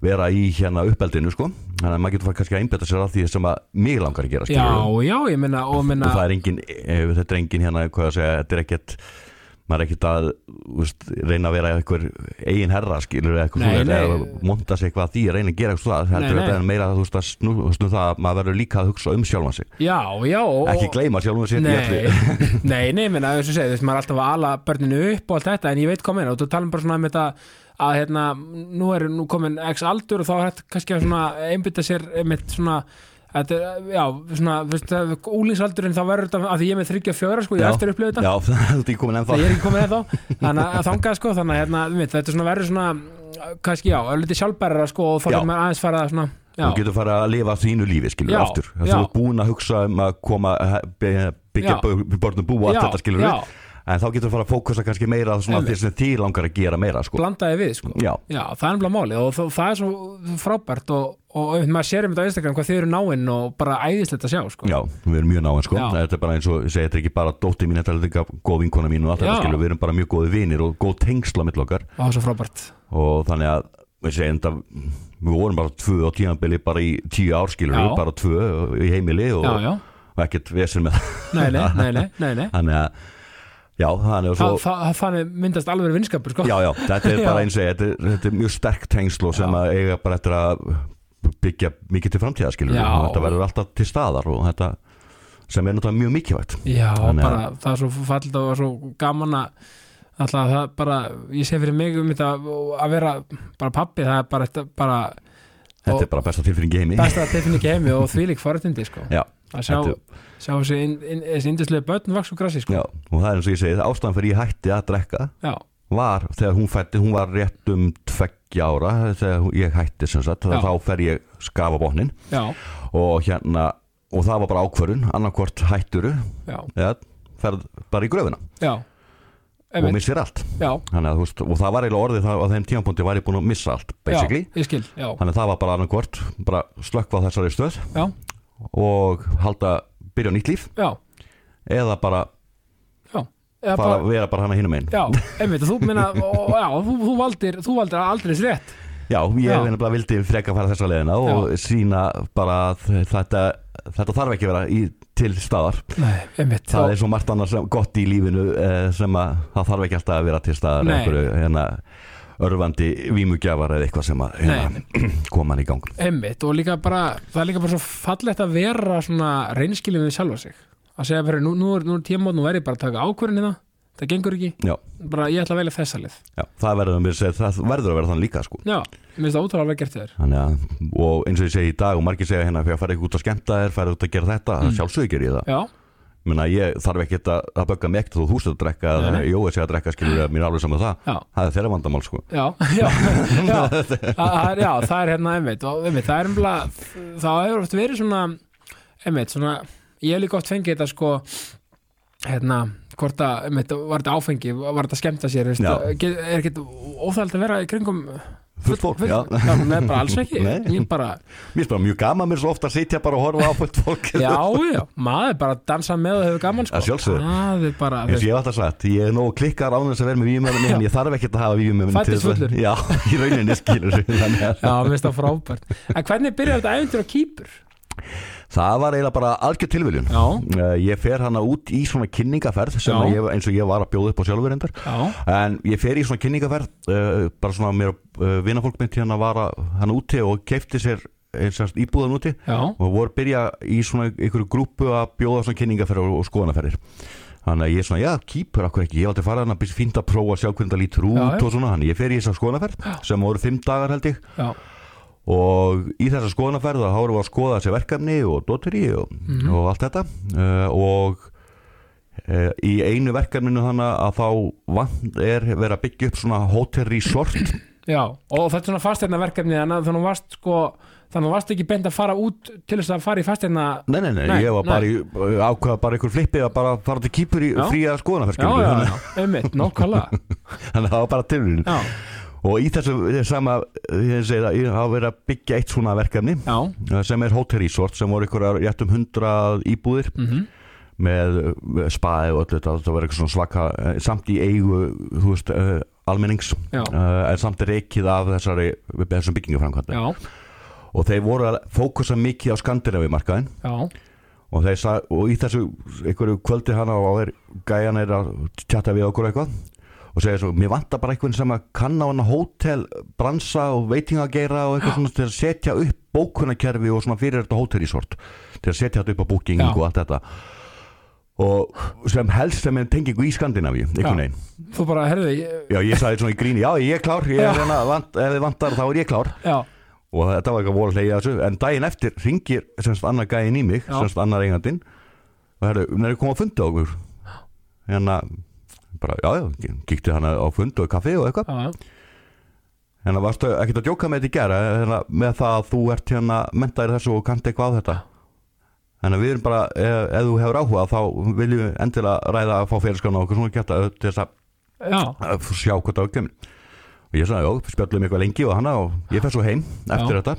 vera í hérna uppeldinu sko þannig að maður getur fara kannski að einbetta sér að því sem að mig langar að gera já, skilurðu. já, ég meina, og hérna- meina og það er engin, eh, þetta er engin hérna hvað að segja, þetta er ekkert maður er ekkert að úst, reyna að vera einhver eigin herra skilur eitthvað Nei, svoleiðis, nei. eða monta sig hvað því að reyna að gera eitthvað það, heldur Nei, nei. þetta er meira að þú veist að snú, snú það að maður verður líka að hugsa um sjálfan sig já, já, og ekki gleyma sjálfan sig Nei, nei, nei, menna, þess að segja, þess að maður er alltaf að ala börninu upp og allt þetta, en ég veit hvað meina og þú talum bara svona um þetta að hérna, nú er nú komin x aldur og þá er hægt kannski að svona einbytta sér einmitt svona Þetta, er, já, svona, veist, úlingsaldurinn þá verður þetta að því ég er með 34 sko, ég Já. er eftir upplifið þetta já, þú ert ekki komin Nei, ennþá ég er ekki komin eða þá þannig að þangað sko, þannig að hérna, þú veit, þetta er svona verður svona uh, kannski já, öllítið sjálfbærara sko og þá Já. getur maður aðeins fara að svona já, þú getur fara að lifa þínu lífi skilur Já, aftur, þú já. ert búin að hugsa um að koma að byggja Já. börnum bú og allt Já, þetta skilur já. en þá getur fara að fókusa kannski meira á svona Einmitt. því sem þið langar að gera meira sko. blandaði við sko já, Já, það er nefnilega málið og þó- það er svo frábært og, og einmitt maður sér um þetta á Instagram hvað þið eru náinn og bara æðislegt að sjá sko. já, við erum mjög náin sko. Já. þetta er bara eins og, ég segi, þetta er ekki bara dóttir mín, þetta er líka góð vinkona mín og allt Já. þetta skilur, við erum bara mjög góði vinir og góð tengsla mitt okkar og það er svo frábært og þannig að við segjum þetta við vorum bara tvö á tímanbili bara í tíu ár skilur, Já. bara tvö í heimili og, Já, já, og ekkert vesinn með það nei, nei, nei, nei, nei, nei. þannig að, já, þannig að Þa, svo, það, þannig myndast alveg vinskapur sko. Já, já, þetta er Já. bara eins og ég, þetta, er- þetta er mjög sterk tengsl og sem Já. að eiga bara eftir að byggja mikið til framtíða skilur Já. og þetta verður alltaf til staðar og þetta sem er náttúrulega mjög mikilvægt Já, Þannig að- bara það er svo fallit og svo gaman að alltaf það bara, ég sé fyrir mig um þetta og að vera bara pappi það er bara, þetta- bara þetta Og- er bara besta tilfinning í heimi besta tilfinning í heimi og þvílík forutindi sko. já, að sjá, Þetta- sjá þessi, inn- inn- þessi indislega börn vaks og grassi sko. já, og það er eins og ég segi ástæðan fyrir ég hætti að drekka Já, var þegar hún fætti, hún var rétt um tveggja ára þegar ég hætti sem sagt, Já. þá fer ég skafa botnin já, og hérna, og það var bara ákvörun annarkvort hætturu já, eða ferð bara í gröfuna já og Einmitt, missir allt já, Þannig að, þú veist, og það var eiginlega orðið það, á þeim tímapunkti var ég búin að missa allt basically, já, ég skil, já, þannig að það var bara annarkvort bara slökkva á þessari stöð já, og halda, byrja á nýtt líf já, eða bara já Eða fara, bara- vera bara hana hinum einn Já, einmitt, þú minna, og, já, þú, þú valdir, þú valdir aldrei rétt Já, ég Já. já. bara vildi freka fara þessa leiðina og sína bara að þetta, þetta þarf ekki að vera í, til staðar. Nei, einmitt Það er svo margt annars sem- gott í lífinu eh, sem að það þarf ekki alltaf að vera til staðar Nei. einhverju hérna, örfandi vímugjafar eða eitthvað sem að hérna, koma hann í gang. Einmitt, og líka bara, það er líka bara svo fallegt að vera svona reynskilin við sjálfa sig að segja fyrir, nú, nú er, nú er tíma nú verð ég bara að taka ákvörðin hérna, það gengur ekki Já, bara ég ætla að velja þessa lið já það, verður, mér segir, það verður að vera þann líka sko. Já, mér finnst það ótrúlega vel gert þér Þannig að, og eins og ég segi í dag og margir segja hérna, fyrir að fara ekki út að skemmta þér, fara út að gera þetta, mm. sjálfsögir ég það. Já, Menna, ég þarf ekki að, að bögga mig ekkert þó þú stöðu að drekka, Nei, nei. Jói segja að drekka skilur að mér er alveg saman það. já, Það er þeirra vandamál sko já, já, já, það er, já það er hérna einmitt, og einmitt, það er umlega það hefur oft verið svona einmitt, svona, ég hef líka oft fengið þetta sko, hérna hvort að, einmitt, var þetta áfengi var þetta að skemmta sér, veist, eh, Já. get- er ekki óþægt að vera í kringum Fullt fólk, já já, nei, bara alls ekki Nei. ég bara, Mér er bara mjög gaman mér svo ofta að sitja bara og horfa á fullt fólk já, já, maður bara dansa með og hefur gaman sko, Að sjálfsögðu. það er bara eins og ég hef alltaf sagt, ég er nógu klikkar án þess að vera með vímöðunni en ég þarf ekkert að hafa vímöðunni Fæddist fullur. Já, í rauninni skilur þannig að Já, mér finnst það frábært En hvernig byrjar þetta æventur á kýpur? það var eiginlega bara algjör tilviljun Já, Eh, Ég fer hana út í svona kynningaferð sem Já. að ég, eins og ég var að bjóða upp á sjálfur endar já, En ég fer í svona kynningaferð uh, bara svona mér uh, vinafólk mitt hérna var að, hann úti og keipti sér eh, eins og íbúðan úti já, og voru að byrja í svona einhverju grúpu að bjóða svona kynningaferðar og- og skoðanaferðir þannig að ég er svona, já, kýpur, akkur ekki ég valdi að fara þannig að fínt að prófa að sjá hvernig það lítur út Já, já. og svona, þannig að ég fer í þessa skoðanaferð sem voru fimm dagar held ég já, og í þessa skoðanaferð þá vorum við að skoða þessi verkefni og doteri og, Mhm. og allt þetta uh, og uh, í einu verkefninu þannig að þá vant er verið að byggja upp svona hotel resort já Og þetta er svona fasteirna verkefni Þannig að þannig að þú varst sko Þannig að þú varst ekki beint að fara út Til þess að fara í fasteirna Nei, nei, nei, Nei, ég var nei. bara í ákvaða bara einhver flippi að bara fara til kýpur í Já. fría Já, skoðanaferð já, já, einmitt, nákvæmlega þannig að það var bara tilvíðin Já, og í þessu þessu sama ég segi það, ég hafa verið að byggja eitt svona verkefni já, eh, sem er Hotel Resort sem voru ykkur rétt um 100 íbúðir mhm með eh, spaði og öllu þetta það var eitthvað svona svaka eh, samt í eigu þú veist eh, almennings Já. eh, en samt reikið af þessari þessum byggingaframkvæmda Já, og þeir voru að fókusa mikið á Skandinavi markaðin já, og, þeir sa- og í þessu einhverju kvöldi hana og þeir gæjan er að tjata við okkur eitthvað og segja svo, mér vantar bara einhvern sem að kann á hana hótel, bransa og veitingageira og eitthvað svona til að setja upp bókunarkerfi og svona fyrir þetta hótelrísort til að setja þetta upp á booking Já. og allt þetta og sem helst sem er tengingu í Skandinavíu einhvern Já. veginn þú bara, herðu ég- já, ég sagði svona í gríni, já ég er klár ég Já. er hérna, vant, ef þið vantar þá er ég klár Já, og þetta var eitthvað voru að hleyja þessu en daginn eftir ringir semst annar gæinn í mig Já. semst annar eigandinn og herru, hún er að koma að fundi okkur hérna bara, já, já, kíkti hana á fund og kaffi og eitthvað já, já, hérna varstu ekkert að djóka með þetta í gera hérna, með það að þú ert hérna mentaðir þessu og kannt eitthvað á þetta þannig að við erum bara, ef, ef þú hefur áhuga þá viljum við endilega ræða að fá félagsgrána okkur svona geta til þess að já, að sjá hvað það kemur og ég sagði, já, spjallum eitthvað lengi og hana og ég fer svo heim eftir Já. þetta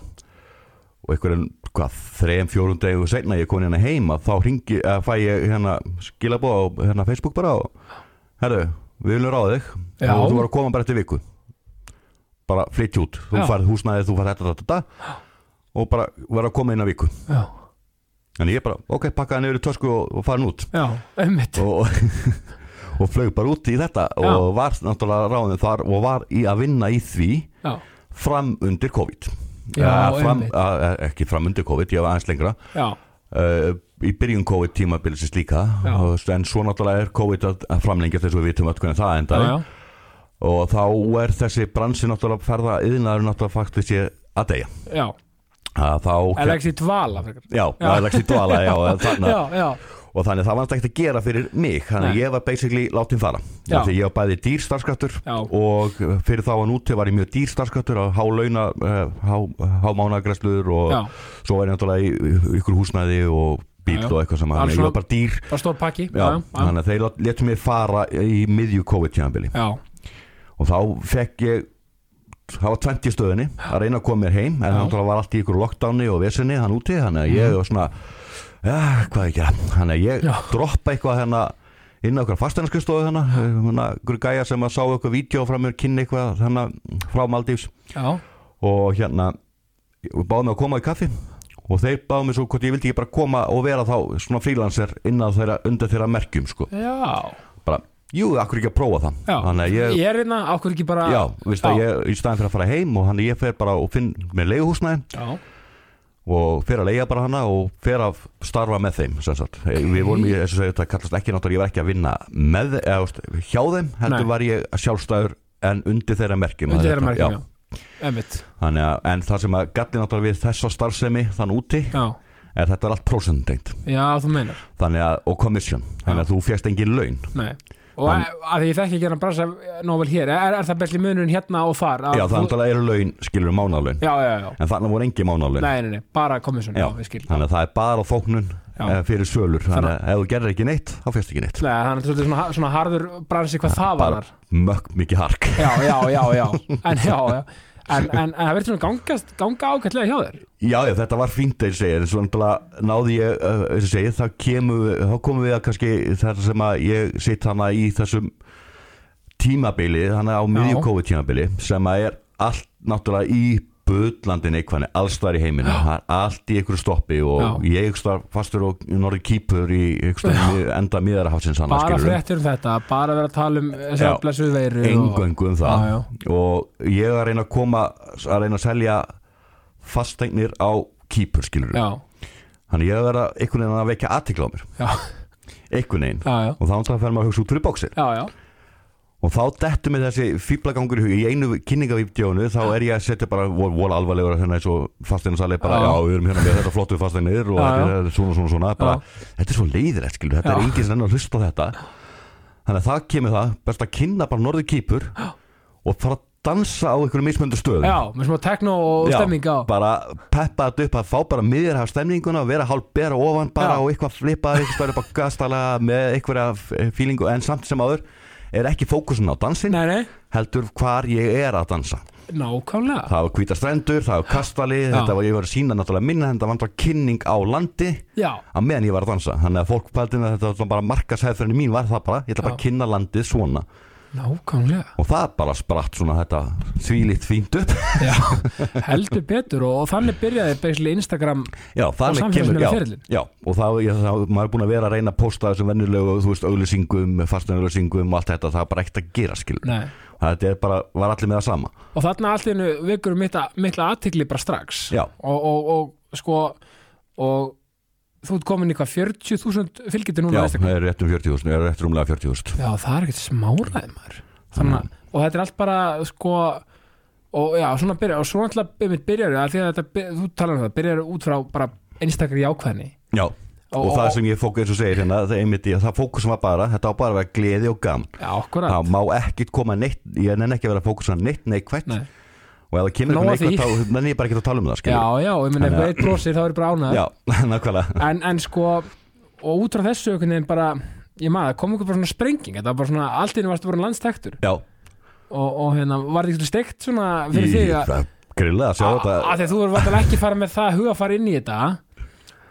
og einhverjum, hvað, þrejum, fjórum degu setna ég kom hérna heim að þá ringi, að fæ ég hérna skilabóð á hérna Facebook bara og herru, við viljum ráða þig Já. og þú var að koma bara eftir viku bara flytt út, þú Já. farið húsnæðið, þú farið þetta, þetta, þetta og bara var að koma inn að viku já, en ég bara, ok, pakkaði niður í tösku og, og farin út já, einmitt og, og flög bara út í þetta Já. og var náttúrulega ráðin þar og var í að vinna í því Já, fram undir COVID Já, Eh, fram, einmitt. að, ekki fram undir COVID, ég var aðeins lengra já, uh, í byrjun COVID tímabilsins líka Já. og, en svo náttúrulega er COVID að að framlengja þess að við vitum öll hvernig það já, endar já, og þá er þessi bransi náttúrulega ferða yðnaður náttúrulega faktist ég að deyja já að þá Alexi Dvala frekar. Já, Já. Alexi Dvala, já, þarna Já, já, og þannig að það var alltaf ekkert að gera fyrir mig þannig að Nei. ég var basically látin fara Já. þannig að ég var bæði dýr starfskattur Já. og uh, fyrir þá að núti var ég mjög dýr starfskattur á há launa, uh, há, há mánagreslur og Já. svo var ég náttúrulega í í- ykkur húsnæði og bíl Já, já. og eitthvað sem Alls þannig að ég svona- var bara dýr bara stór pakki Já, þannig að þeir lát- létu mig fara í miðju COVID-tjambili já, og þá fekk ég það var 20 í stöðinni að reyna að koma mér heim en Já. Mhm. þannig var allt í ykkur lockdowni og vesinni hann úti, þannig að ég var svona ja, hvað á ég að gera, þannig að ég Já. droppa eitthvað hérna inn á hérna, okkur fasteinarskustofu þannig einhver gæja sem að sá okkur vídeo frá mér kynni eitthvað þannig frá Maldífs já, og hérna og báði mig að koma í kaffi og þeir báði mig svo hvort ég vildi ekki bara koma og vera þá svona frílanser innan þeirra undir þeirra merkjum sko já. bara, jú, akkur ekki að prófa það já. þannig að ég, ég er einna, ákveður ekki bara já, veist að ég í staðin fyrir að fara heim og hann ég fer bara og finn með leiguhúsnæði já, og fer að leiga bara hana og fer að starfa með þeim sem sagt, Eh, við vorum í þessu segja þetta kallast ekki náttúrulega, ég var ekki að vinna með, eða, veist, hjá þeim, heldur Nei. var ég sjálfstæður en undir þeirra merkjum undir þeirra Þetta- margum, já, Einmitt. Þannig að, en það sem að galli náttúrulega við þessa starfsemi þann úti já, er þetta er allt prósentengt já, þú meinar þannig að, og commission, þannig að þú fjast engin laun Nei. og Þann- að, að því ég þekki ekki hérna brasa nóvel hér, er, er það besti munurinn hérna og þar að Já, það þú- náttúrulega eru laun, skilur mánaðlaun já, já, já, en þannig voru engin mánaðlaun nei, nei, nei, bara komisjón, já, ég skil þannig að það er bara þóknun Já. eh, fyrir sölur þannig að ef þú gerir ekki neitt, þá fyrst ekki neitt Nei, hann er svolítið svona, svona harður bransi hvað það bara var mökk mikið hark Já, já, já, já En já, já En, en, en það verður svona gangast, ganga ágætlega hjá þér Já, já, þetta var fínt þeir segir en svo náttúrulega náði ég, uh, þess að segja þá kemur, þá komum við að kannski þar sem að ég sitt hana í þessum tímabili, hana á miðju Já. COVID tímabili sem að er allt náttúrulega í bulllandin eitthvað, allstar í heiminu það er allt í einhverju stoppi og Já. ég einhverstað fastur og norður kýpur í einhverstað enda miðarhafsins hana, Bara skilurðu. fréttir um þetta, bara vera að tala um þess Já. að blessuð veiru og- engöngu um það Já, já. og ég er að reyna að koma að reyna að selja fasteignir á kýpur skilur Já, þannig ég er að vera einhvern veginn að vekja aðtikla á mér já, einhvern veginn já, já, og þá náttúrulega fer maður að hugsa út fyrir bóksir já, já. og þá dettur mér þessi fýblagangur í hug í einu kynningavídeónu þá er ég að setja bara vol, vol alvarlegur að hérna eins og fasteinarsali bara Já. já. við erum hérna með þetta flottu fasteinir og Já, þetta er svona svona svona bara, Já. þetta er svo leiðilegt skilur þetta Já. er enginn sem enn að hlusta á þetta þannig að það kemur það best að kynna bara norður kýpur og fara að dansa á einhverjum mismöndu stöðum já með smá tekno og Já, stemming á bara peppa þetta upp að fá bara miðjarhaf stemninguna og vera hálf bera ofan bara Já. og eitthvað flippa eitthvað upp á gastala með einhverja fílingu en samt sem áður er ekki fókusin á dansin Nei, nei, heldur hvar ég er að dansa nákvæmlega það var hvítar strendur, það var kastali þetta var ég var að sína náttúrulega minna þetta var náttúrulega kynning á landi Já, að meðan ég var að dansa þannig að fólk pældi með þetta var bara markasæðferðin mín var það bara ég ætla bara Já. að kynna landið svona nákvæmlega og það bara spratt svona þetta þvílitt fínt upp Já, heldur betur og, og þannig byrjaði basically Instagram Já, þannig kemur samfélagsmiðla já, ferilinn. já, og það, ég, það, maður er búin að vera að reyna að posta þessum vennilegu, þú veist, auglýsingum fastanauglýsingum og allt þetta, það er bara ekkert að gera skil Nei. þetta er bara, var allir með það sama og þarna allt í hennu vekur mikla, mikla aðtikli bara strax Já. og, og, og sko og þú ert komin í hvað 40.000 fylgjandi núna á Já, Instagram. það er rétt um 40.000, er rétt rúmlega 40.000 já, það er ekkert smáraði maður þannig Mm. að, og þetta er allt bara sko og já, svona byrjar og svona alltaf byrjar, byrjar að því að þetta, byr- þú talar um það, byrjar út frá bara einstakar jákvæðni Já, og, það sem ég fókus, eins og segir hérna, það, einmitt, ég- það fókusum var bara, þetta á bara að vera gleði og gaman já, akkurat það má ekkert koma neitt, ég nenn ekki að vera að fókusa á neitt neikvætt Nei. og ef það kemur Nóg eitthvað af því. neikvætt, þá nenn ég bara ekki að tala um það já, skilur. já, ég meina ef Þannig að- eitt brosir þá er ég bara ánæður já, nákvæmlega en, en sko og út frá þessu einhvern veginn bara ég maður, kom einhver bara svona sprenging þetta var bara svona, allt í henni varstu bara landstæktur Já, og, og hérna, var þetta steikt svona fyrir í- þig að, Ah, það grilla að sjá að, þetta að því að þú er vantilega ekki fara með það huga að fara inn í þetta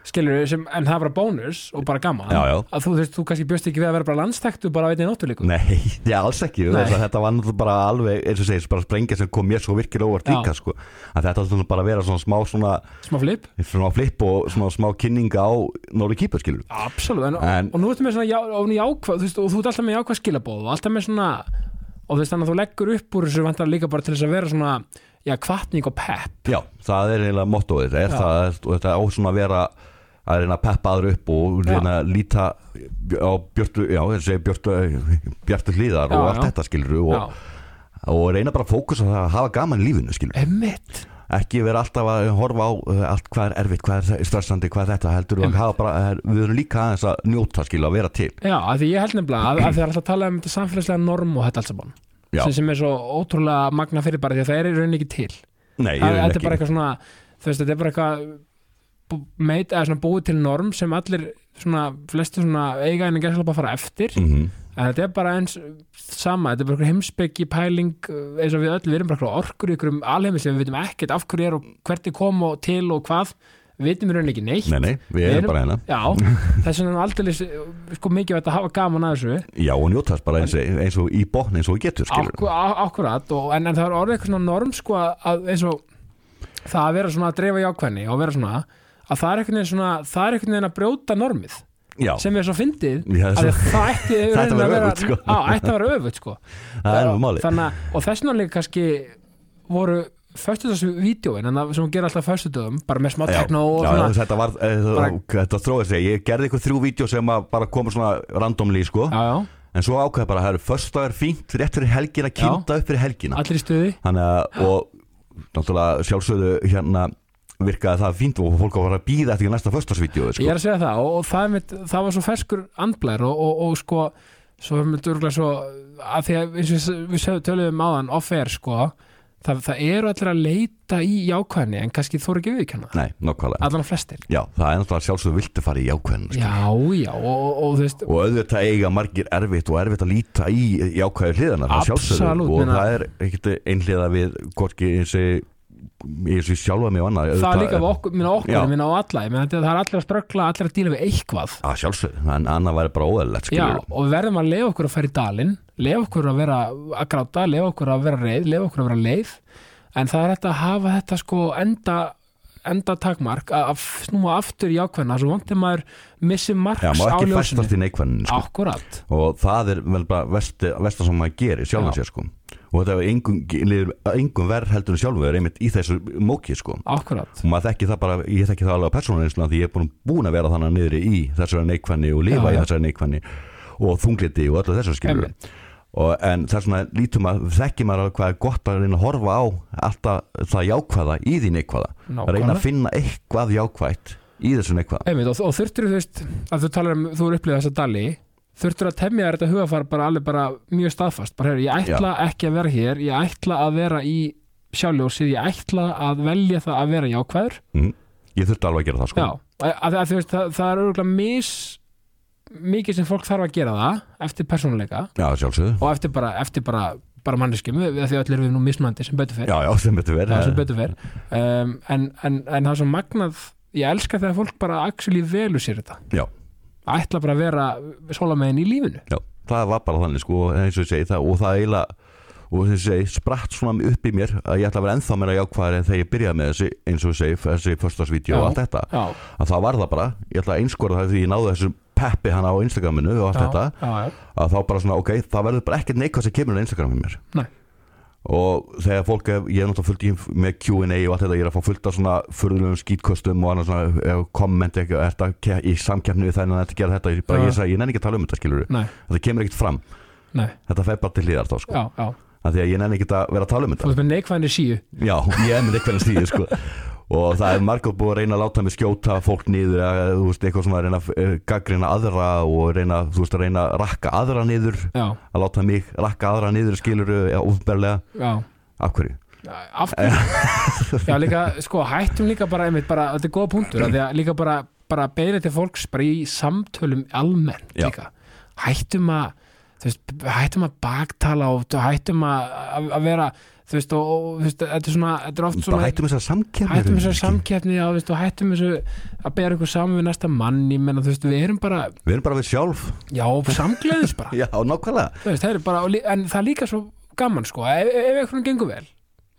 skilur sem, en það er bara bónus og bara gaman Já, já. að þú, þú, þú kannski bjóst ekki við að vera bara landstæktur bara á einni náttúrleiku Nei, það er alls ekki Nei. þess að Þetta var náttúrulega bara alveg, eins og segir, bara sprengja sem kom mér svo virkilega óvart Já. líka sko. að þetta var svona bara að vera svona smá svona, smá flip, svona flip og svona smá kynninga á Nóri Kýpur skilur absolutt en, En- og nú ertu með svona já, og, jákvæð, þú veist, og þú ert alltaf með jákvæð skilabóð og alltaf með svona og þú veist þannig að þú leggur upp úr þessu vantar líka bara til þess að vera svona já, kvartning og pepp Já, það er eiginlega mottóið þetta er Já. það, og þetta á svona að vera að reyna að peppa aður upp og reyna að líta á björtu, já, þessi björtu, björtu hlýðar Já, og allt já. þetta skilur Já, og, og reyna bara að fókusa á það að hafa gaman í lífinu skilur emmitt ekki vera alltaf að horfa á uh, allt hvað er erfitt, hvað er stressandi, hvað er þetta heldur við, að hafa bara, er, við erum líka aðeins að njóta skil að vera til Já, af því ég held nefnilega að, að þið er alltaf að tala um þetta samfélagslega norm og þetta alls að bán Já. sem, sem er svo ótrúlega magna fyrir bara því að það er í rauninni ekki til Nei, ég Það- er Þetta er bara ekki eitthvað svona þú veist, þetta er bara eitthvað bú- meit, eða svona búið til norm sem allir svona, flesti svona eiga en að fara eftir mm En þetta er bara eins sama, þetta er bara einhver heimsbyggi pæling uh, eins og við öll, við erum bara einhver orkur í einhverjum alheimi sem við vitum ekkert af hverju er og hvert er kom og til og hvað, við vitum í rauninni ekki neitt. Nei, nei, við Við erum erum- bara hérna Já, þess vegna er aldrei sko mikið að hafa gaman að þessu Já, og njótast bara eins, eins og í botn eins og við getur skilur Akku- á- akkurat, og, en, en það er orðið eitthvað svona norm sko að eins og það að vera svona að dreifa jákvæðni og vera svona að það er einhvern veginn svona, það er einhvern veginn að brjóta normið Já, sem er svo fyndið Já, að svo- það ætti í Það ætti að rauninni vera að vera- öfugt, sko. á, ætti að vera öfugt sko það er nú máli Þannig, að- og þess vegna líka kannski voru föstudagsvídjóin en það sem hún gerir alltaf föstudagum bara með smá Já, tekno og já, svona þetta var, eh, Bara- þetta þróið sig Ég gerði ykkur þrjú vídeo sem að bara koma svona randomly sko já, já, En svo ákveða bara, það eru föstudagur fínt, rétt fyrir helgina, Já. kynnta upp fyrir helgina allir í stuði Þannig að, og náttúrulega sjálfsögðu hérna virkaði það fínt og fólk var að býða eftir næsta föstudagsvídeó ég sko. er að segja það og, og það, er mitt, það var svo ferskur andblær og, og, og sko svo er mitt örgulega svo að því að eins og við- við sögum töluðum um áðan off-air sko það, það eru allir að leita í jákvæðni en kannski þú eru ekki viðkjanna Nei, nokkvæðlega allan flestir Já, það er náttúrulega sjálfsögðu viltu fara í jákvæðin já, já, og, og, og þú veist og auðvitað eiga margir erfitt og erfitt að líta í jákvæðu hliðanar það Absolutt, sjálfsögðu og meina- það er ekkert einhliða við hvorki þessi ég sé sjálfa mig og annað það auðvitað er líka við okkur, minna okkur, Já. minna á alla ég meina, þetta- það er allir að ströggla, allir að díla við eitthvað að sjálfsögðu, en annað væri bara óæðilegt Já, skilur og við verðum að lefa okkur að fara í dalinn lefa okkur að vera að gráta lefa okkur að vera reið, lefa okkur að vera leið en það er þetta að hafa þetta sko enda, enda takmark að, að snúa aftur í ákveðna svo vondið maður missi marks Já, má á ekki ljósinu festast í neikvæðinu sko. Akkurat, og það er vel bara vesti, vesta sem maður gerir sjálfum Já. sér sko og þetta er engum, líður engum verð heldur en sjálfum er einmitt í þessu móki sko akkurat og maður þekki það bara, ég þekki það alveg á persónulegislega því ég er búin, búin að vera þannig niðri í þessari neikvæðni og lifa Já, já. í þessari neikvæðni og þungliti og öllu þessu skilur Einmitt. og, en þess vegna lítum að þekki maður alveg hvað er gott að reyna að horfa á alltaf það jákvæða í því neikvæða Nákvæmlega. reyna að finna eitthvað jákvætt í þessu neikvæða Einmitt, og, og þurftur þú veist að þú talar um, þú eru upplifað þessa dali þurftur að temja þér þetta hugafar bara alveg bara mjög staðfast, bara hefur, ég ætla ekki að vera hér ég ætla að vera í sjálfljósið, ég ætla að velja það að vera jákvæður mm. ég þurfti alveg að gera það sko Já, að, að, að, þú veist, það, það er örgulega mis mikið sem fólk þarf að gera það eftir persónuleika já sjálfsögðu og eftir bara, eftir bara, bara manneskjum við, við því öll erum við nú mismandi sem betur fer já, já, sem betur það sem verið betur fer um, en, en, en það er svo magnað ég elska þegar fólk bara actually velu sér þetta já, ætla bara að vera sólamegin í lífinu já, það var bara þannig sko og eins og ég segi það og það eiginlega og þess að segi spratt svona upp í mér að ég ætla að vera ennþá meira jákvæðar en þegar ég byrjaði með þessi eins og ég segi þessi förstagsvídeó Já. og allt þetta Já, að það var það bara, ég ætla að einskora það því ég náði þessu peppi hann á Instagraminu og allt já, þetta já, já, að þá bara svona ok, það verður bara ekkert neikvæð sem kemur á Instagraminu mér Nei. og þegar fólk, hef- ég er náttúrulega fullt í með Q&A og allt þetta, ég er að fá fullt af svona furðulegum skítköstum og annars svona eh, komment ekki, er þetta ke- í samkeppni við þennan þetta gera þetta, ég, bara, Já. ég, segi, ég nenni ekki að tala um þetta skilur nei, þetta kemur ekkert fram, nei þetta fer bara til hliðar þá sko, já, já, Af því að ég nenni ekki að vera að tala um þetta þú veist með neikvæðinni síu Já, ég er með eitthvað stíði sko Og það er margótt búið að reyna að láta mig skjóta fólk niður að, Þú veist, eitthvað svona að reyna að gaggrina aðra Og reyna, þú veist, að reyna að rakka aðra niður Já, Að láta mig rakka aðra niður skilur Já, ofberlega já Af hverju? af hverju já líka, sko, hættum líka bara einmitt bara, þetta er góða punktur, af því að líka bara bara beina til fólks bara í samtölum almennt Já. líka hættum að, þú veist, hættum að baktala og þú- hættum að að- að vera, þú veist, og, og þú veist, þetta er svona, þetta er oft Bara svona hættum þess að samkjæmni hættum þessu samkeppni á, þú veist, og hættum þessu að bera ykkur saman við næsta mann ég menna, þú veist, við erum bara, Við erum bara við sjálf já, samgleðis bara Já, nákvæmlega þú veist, það er bara, og lí- en það er líka svo gaman, sko, ef, ef eitthvað gengur vel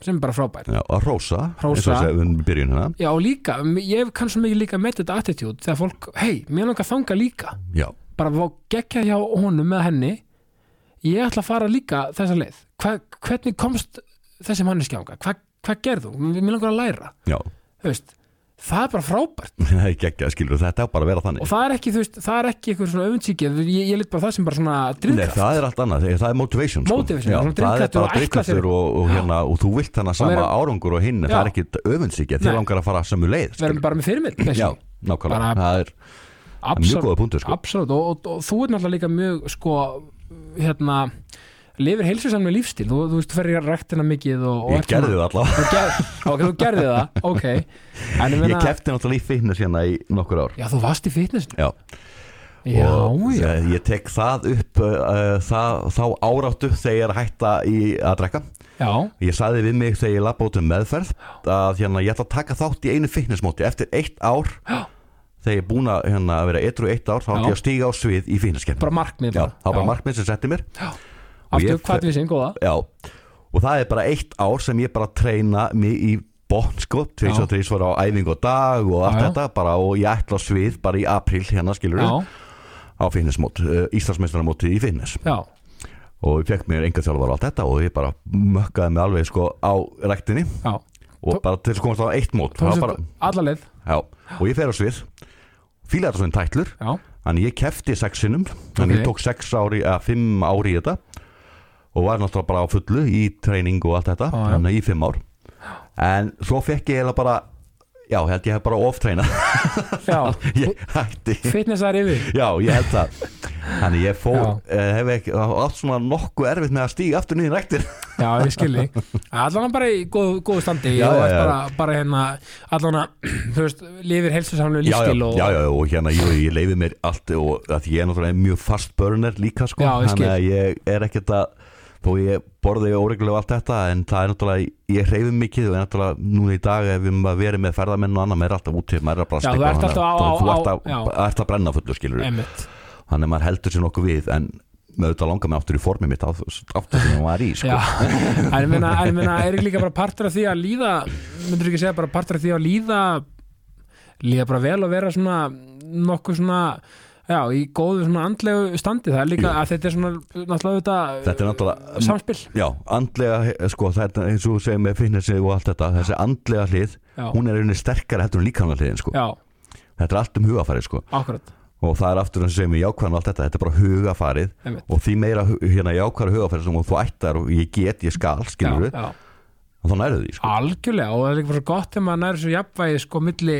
sem er bara frábært Já, að rósa Hrósa. Eins og þess að byrjun hérna Já, og líka, m- ég kann svo mikið líka með þetta attitude þegar fólk, hei, mér langar þanga líka Já, bara vá gekkja hjá honum með henni ég ætla að fara líka þessa leið Hva, hvernig komst þessi manneskjánga, Hva, hvað gerðu, mér langar að læra já þú veist, það er bara frábært það er geggjað, skilur, þetta er bara að vera og þannig það er ekki, þú veist, það er ekki eitthvað svona öfundsíki ég, ég lit bara það sem bara svona Nei, drivkraft það er allt annað, þegar það er motivation, sko. Motivation, Já, svona það er drifkraftur og bara ætla driftkastur þér- og, og, Já. hérna, og þú vilt þannig Og sama vera- árangur og hinn það Já. er ekkit öfunnsíkja, Nei. þið langar að fara sömu leið við erum skilur. bara með fyrirmynd Já, nákvæmlega, Bara- það er mjög góða punktur, sko. absolutt og, og, og þú er náttúrulega líka mjög sko, hérna lifir heilsusamlega lífstíl, þú, þú veist, þú ferðir ræktina mikið og, og ég gerði það allavega, ger, ok, þú gerði það, ok en ég ég meina, kefti náttúrulega í fitness hérna í nokkur ár já, þú varst í fitnessinu Já, já, og já, eh, ég tek það upp uh, uh, það, þá áráttu þegar ég er að hætta í að drekka já, ég saði við mig þegar ég lappa út um meðferð að hérna, ég ætla að taka þátt í einu fitnessmóti eftir eitt ár þegar ég er búin að, hérna, að vera eitru eitt ár þá Já. ætla ég að stíga á svið í fitnesskeppni bara markmið Já, bara. það var bara markmið sem setti mér og aftur ég- hvað við sinn góða Já, og það er bara eitt ár sem ég bara treyna mig í botn sko, tveis Já. og þrís á æfingu og dag og allt Já, já. þetta bara og ég ætla á svið bara í april hérna skilur já, á fitnessmót, uh, Íslandsmeistarmóti í fitness já, og ég fekk mér enga þjálfur á allt þetta og ég bara mökkaði mig alveg sko á ræktinni já og bara til þess að komast á eitt mót þú það var veist, bara, alla leið, já, og ég fer á svið fílaði þetta svona tætlur já, þannig ég kefti sexinum Ok. þannig ég tók sex ári, eða fimm ári í þetta og var náttúrulega bara á fullu í treyning og allt þetta, Já, já. þannig að í fimm ár en svo fekk ég eiginlega bara já, ég held ég hef bara oftreinað já ég hætti fitnessar yfir, Já, ég held það Þannig ég fór, Já. eh, hef ekki það var allt svona nokkuð erfitt með að stíga aftur niður ræktir já, ég skilji allan bara í góð, góðu standi Já, og já, ert já. bara, bara hérna allan að, þú veist, lifir heilsusamlega já, já, lífstíl og já, já, og hérna jú, ég leiði mér allt og að því ég er náttúrulega mjög fast burner líka sko, Já, ég skil. þannig að ég er ekkert að þó ég borði óreglulega allt þetta en það er náttúrulega, ég hreyfi mikið og er náttúrulega núna í dag ef við maður verið með ferðamenn og annað, maður er alltaf úti, maður er bara að Já, þú stikla, ert þannig alltaf á- að- á- þú á- ert að, já. ert að brenna fullu skilur Einmitt. þannig að maður heldur sér nokkuð við en með auðvitað langar mig aftur í formið mitt á- aftur sem ég var í sko. Já, en ég meina, en ég meina er ekki líka bara partur af því að líða myndur ekki segja bara partur af því að líða líða bara vel og vera svona nokkuð svona já, í góðu svona andlegu standi það er líka Jú. að þetta er svona náttúrulega þetta, þetta er náttúrulega samspil Já, andlega, he- sko, þetta eins og þú segir með fitnessi og allt þetta, þessi andlega hlið Já. hún er einu sterkari heldur en líkamlega hliðin sko. já, þetta er allt um hugafærið sko. akkurat, og það er aftur þessi sem ég jákvæðan og allt þetta, þetta er bara hugafærið einmitt og því meira hu- hérna jákvæðar hugafærið sem þú ættar og ég get, ég skal, já, skilur við já, og þá nærðu því, sko. algjörlega og það er líka bara svo gott þegar maður nær svo jafnvægi sko milli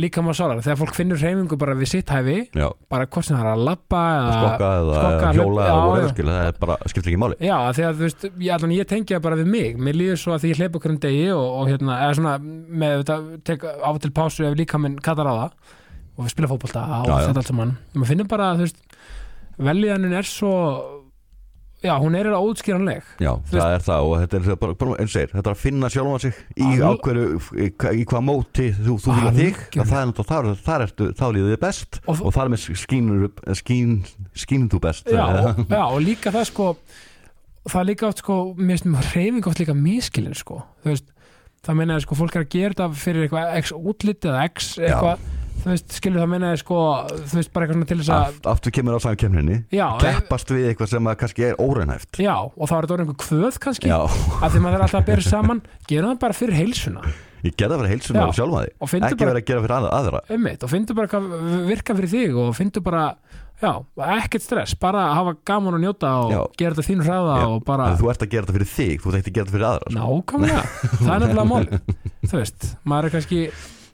líka maður sálar þegar fólk finnur hreyfingu bara við sitt hæfi Já, bara hvort sem það er að labba eða skokka eða Uh, skokka, eða hlaupa- hjóla eða já, já. voru, skilur, það er bara, skiptir ekki máli Já, af því að þú veist, ég, allan ég tengi það bara við mig Mér líður svo að því ég hleypa okkur um degi og, og hérna, eða svona, með þetta tek á og til pásu ef líka minn kallar á það og við spila fótbolta og Já, já. þetta allt saman Maður finnir bara, þú veist, veljanin er svo Já, hún er eða ótskýranleg Já, Þú það er það og þetta er bara, bara eins og segir, þetta er að finna sjálfan sig í Al- ákveðu, í, hva- í hvað móti þú, þú fílar þig, Algjörlega. að það er náttúrulega þar, þar ertu, þá líður þig best Og og, þú- þar með skínur upp, skín, skínur þú best já, og- já, og líka það sko það er líka oft sko, mér finnst mér reyfing oft líka miskilin sko þú veist, það meina ég sko, fólk er að gera þetta fyrir eitthvað x útlit eða x eitthvað, þú veist, skilur það meina ég sko þú veist, bara eitthvað svona til þess að Aft, aftur kemur á saman kemninni Já, keppast við eitthvað sem að kannski er óraunhæft já, og þá er þetta orðið einhver kvöð kannski, Já, af því maður er alltaf að bera saman gera það bara fyrir heilsuna ég gerða að vera Já, heilsuna og sjálfa þig og finndu ekki bara- vera að gera fyrir aðra, aðra. einmitt, og fyndu bara hvað virka fyrir þig og fyndu bara, já, ekkert stress bara að hafa gaman og njóta og Já. gera þetta þínu hraða Já, og bara en þú ert að gera þetta fyrir þig, þú ert ekki að gera þetta fyrir aðra sko. Nákvæmlega, það er nefnilega máli Þú veist, maður er kannski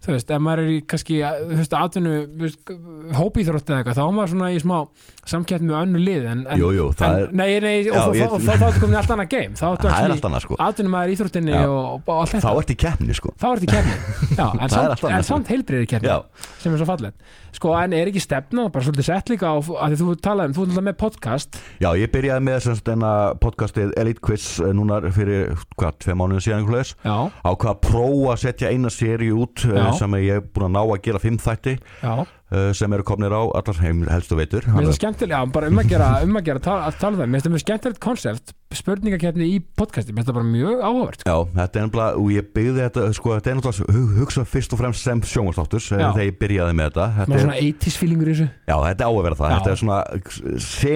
Þú veist, ef maður er í kannski Þú veist, atvinnu, þú veist, hópíþrótt eða eitthvað Þá er maður svona í smá samkjætt með önnu lið en, en, Jú, jú, það en, er, Nei, nei, Já, og þá- ég- þá- þá þá ertu komin í allt annað game Þá ertu það er actually- allt annað sko atvinnu maður í íþróttinni Já. og, og allt Þá þetta ert í keppni sko Þá ertu í kefni Já, en er allt samt, annað. en samt heilbriðir kefni Já, sem er svo fallet Sko, en er ekki stefna, bara svolítið sett líka á, að því þú talaði um, þú er náttúrulega með podcast Já, ég byrjaði með sem sagt enna podcastið Elite Quiz eh, núna fyrir hvað, tvei mánuðin síðan einhvern veginn Já, á hvað að prófa að setja eina séri út eh, Já. Já. sem ég er búin að ná að gera fimm þætti já, uh, sem eru komnir á allar heim helstu Mér veitur finnst það Alveg- skemmtilega, já, bara um að gera, um að gera tal, að tala um það, mér finnst það mjög skemmtilegt konsept spurningakefni í podcasti, mér finnst það bara mjög áhugavert sko. Já, þetta er nefnilega, og ég byggði þetta, sko, þetta er náttúrulega hu- hugsað fyrst og fremst sem sjónvastáttur Já. þegar ég byrjaði með þetta. Má þetta er, svona 80s feelingur í þessu já, þetta á að vera það, Já. þetta er svona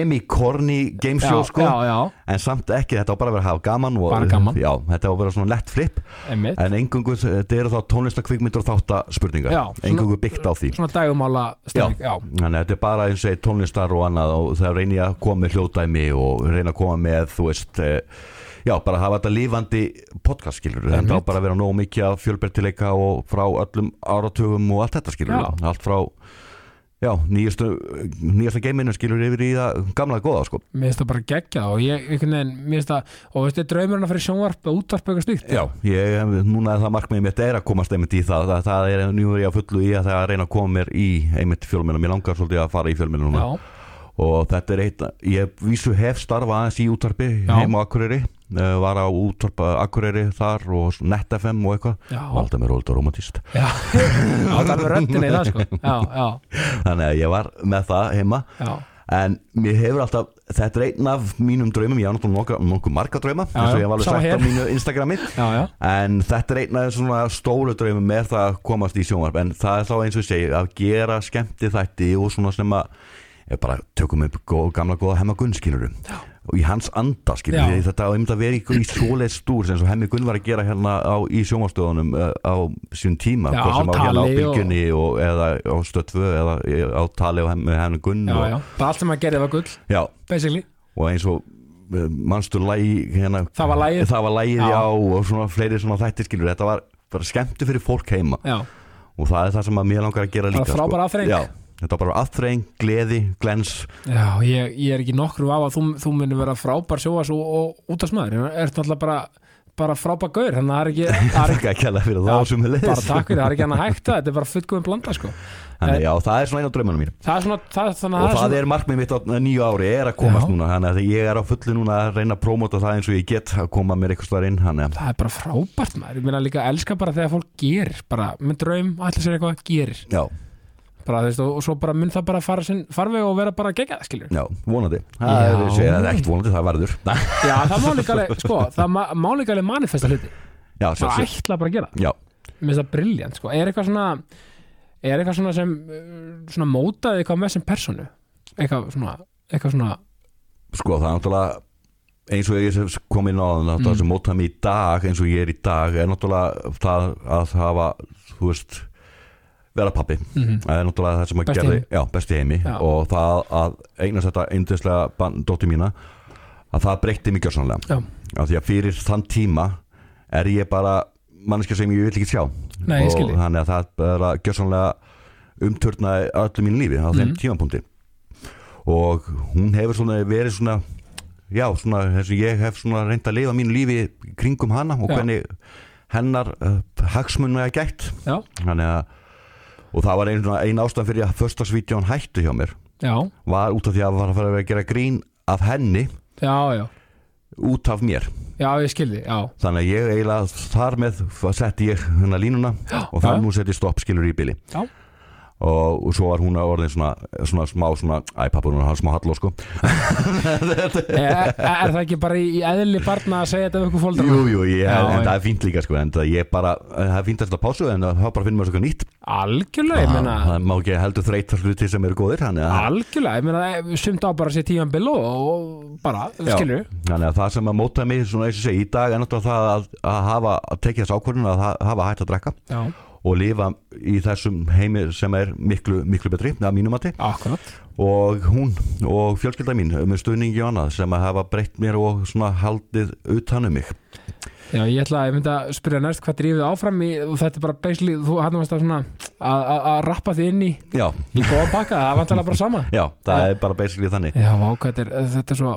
semi-corny gameshow, já, sko, já, já, en samt ekki, þetta á bara að vera að hafa gaman. Og, Bara gaman. Já, þetta á að vera svona lett flip, einmitt en engungu, þetta eru þá tónlistakvikmyndur og þáttaspurningar, Já, svona- engungu byggt á því. Svona dagumála stefning, já, Þannig að þetta er bara eins og eitt tónlistar og annað og það reyni ég að koma með hljóðdæmi og reyna að koma með, þú veist eh, já, bara hafa þetta lífandi podcast skilur, en þá Einmitt. bara vera nógu mikið af fjölbertileika og frá öllum áratugum og allt þetta skilur, Já. allt frá já, nýjastu nýjasta geiminu skilur yfir í það gamla góða sko. mér finnst það bara geggjað og ég, einhvern veginn, mér finnst það og veistu, draumurinn að fyrir sjónvarp og útvarp eitthvað slíkt Já, ég, eh, núna er það markmiðið mitt er að komast einmitt í það, það, það er nú er ég að fullu í að það er að reyna að koma mér í einmitt fjölmennum, ég langar svolítið að fara í fjölmennum já, og þetta er eitt, ég vísu hef starfa aðeins í útvarpi Já. heima á Akureyri Eh, var á útvarpa Akureyri þar og NetFM og eitthvað Já. valda mér ólita romantist já, já það er með röndinni í það sko, já, já, þannig að ég var með það heima já en mér hefur alltaf, þetta er einn af mínum draumum, ég á náttúrulega nokkuð nokku marga drauma Já, eins já, og ég hef alveg sama sagt hér. á mínu Instagrami Já, já, en þetta er einn af svona stólu draumum með það að komast í sjónvarp en það er þá eins og ég segi að gera skemmti þætti og svona sem að eh, bara tökum upp góð, gamla góða hemma Gunn skilurum og í hans anda Já. skilurum þetta á einmitt að vera í, í svoleið stúr sem svo hemmi Gunn var að gera hérna á, í sjónvarstöðunum eh, á sín tíma Já, hvort sem á á, hérna á Tali og- bylgjunni og... eða á stöðtvö eða eh, á tali og hemmi, hemmi Gunn já, og, já Bara allt sem að gerði var gull, Já, basically og eins og eh, manstu lægi hérna, Það var lagið. það var lagið, Já. já, og svona fleiri svona þættir skilur, þetta var bara skemmtu fyrir fólk heima Já, og það er það sem að mér langar að gera Bara líka sko. frábær afþreying. já, þetta var bara aðþreng, gleði, glens já ég, ég er ekki nokkru á að þú, þú munir vera frábær sjóas og, og útvarpsmaður Ég er náttúrulega bara, bara frábær gaur þannig að það er ekki, það er takk að kella fyrir Já, það sem við bara takk fyrir, það er ekki hann að hægta þetta er bara fullkomum blanda sko þannig já, það er svona einu af draumanum mín það er svona, það, þannig að og það svona, er markmið mitt á nýju ári er að komast Já. núna þannig að ég er á fullu núna að reyna að prómóta það eins og ég get að koma mér eitthvað staðar inn þannig að það er bara frábært maður, ég meina líka elska bara þegar fólk gerir, bara með draum ætla sér eitthvað, gerir, já, bara þú veist og, og svo bara mun það bara fara sinn farveg og vera bara gegja, skilur já, vonandi það er, Já. segja, það er ekkert vonandi, það verður já, það má líka alveg, sko, það má, má líka alveg manifesta hluti, já, sér, það sér. ætla bara að gera já, mér finnst það briljant, sko, er eitthvað svona er eitthvað svona sem uh, svona mótaði eitthvað með sem personu eitthvað svona, eitthvað svona sko það er náttúrulega eins og ég hef komið inn á þannig Mm. að það sem móta mig í dag eins og ég er í dag er náttúrulega það að hafa þú veist vera pappi mhm. það er náttúrulega það sem að Besti gerði heimi. já, besti heimi Já. og það að eignast þetta eindislega dóttir mína að það breytti mig gjörsanlega já, af því að fyrir þann tíma er ég bara manneskja sem ég vil ekki sjá Nei, ég og skil þig. þannig að það bara gjörsanlega umturnaði öllu mínu lífi á þeim Mhm. tímapunkti og hún hefur svona verið svona já, svona, þessi, ég hef svona reynd að lifa mínu lífi kringum hana og Já. hvernig hennar uh, hagsmunna er gætt já, þannig að og það var ein, svona ein ástæðan fyrir að förstagsvídeón hættu hjá mér já, var út af því að var að fara að gera grín af henni já, já út af mér já, ég skilði, já Þannig að ég eiginlega þar með setti ég hérna línuna og já. þannig hún setti stopp skilur í bili Já. og, og svo var hún að orðin svona, svona smá svona, æ pappa hún er hann smá halló sko er, er það ekki bara í, í eðli barna að segja þetta við okkur fólkdra? Jú, jú, ég, Já, en já. það er fínt líka sko en það ég bara, það er fínt að þetta pásu en það bara finnum við svo nýtt Algjörlega, ég Það- meina það má ekki heldur þreytar hluti sem eru góðir þannig að, Algjörlega, ég meina eh, sumt á bara sér tíman bil og, og bara, Já. skilur þannig að það sem að móta mig svona eins og segi í dag er náttúrulega það að, að hafa að tekja þess ákvörðun að ha- hafa hægt að drekka Já, og lifa í þessum heimi sem er miklu, miklu betri að mínum mati akkurat og hún og fjölskylda mín með stuðningi og annað sem að hafa breytt mér og svona haldið utanum mig Já, ég ætla að ég myndi að spyrja næst hvað drífið áfram í, og þetta er bara basically, þú hann varst að svona að- að að rappa þig inn í já, í góða pakka, það var alltaf bara sama já, það er bara basically þannig Já, vá, hvað þetta er, þetta er svo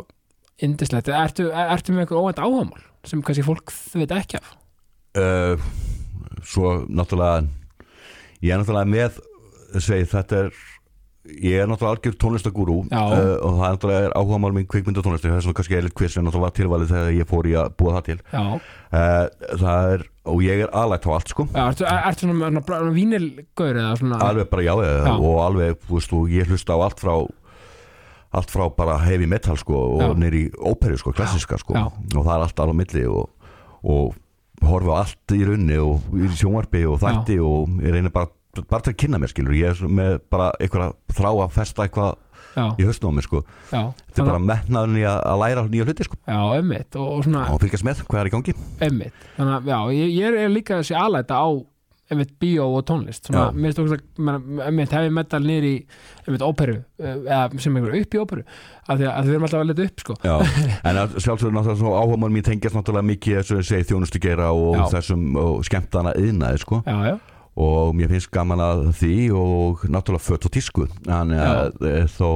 indislegt, ertu, er, ertu með einhver óvænt áhamál sem kannski fólk veit ekki af uh, svo náttúrulega ég er náttúrulega með segi, þetta er ég er náttúrulega algjör tónlistagúrú Já. uh, og það er náttúrulega er áhugamál mín kvikmynda tónlistu það er svona kannski eilert quiz sem náttúrulega var tilvalið þegar ég fór í að búa það til já, uh, það er, og ég er aðlægt á allt sko já ertu, ertu svona, svona, svona vínilgaur eða svona alveg bara já, já. Já. og alveg, þú veist, og ég hlusta á allt frá allt frá bara heavy metal sko Já. og neyri óperu sko, klassiska sko Já. og það er allt alveg á milli og, og horfa á allt í runni og í sjónvarpi og þætti og ég reynir bara, bara til að kynna mér skilur ég er svona með bara einhverja þrá að festa eitthvað já, í höstum á mér sko þetta já, er bara metnaðurinn í að, að læra nýja hluti sko já, emmitt og, og svona, og fylgjast með hvað er í gangi emmitt þannig að, já, ég, ég er líka þessi aðlæta á einmitt bíó og tónlist svona, Já. mér stókst að, einmitt hef ég metal niður í einmitt óperu, eh, eða sem einhver upp í óperu, af því að, að við erum alltaf að leta upp sko, Já, en að sjálfsögur náttúrulega svo áhugamál mín tengjast náttúrulega mikið þessu að segja þjónustu gera og Já. þessum og skemmtana yðnaði sko já, já, og mér finnst gaman að því og náttúrulega fött og tísku þannig að eh, þó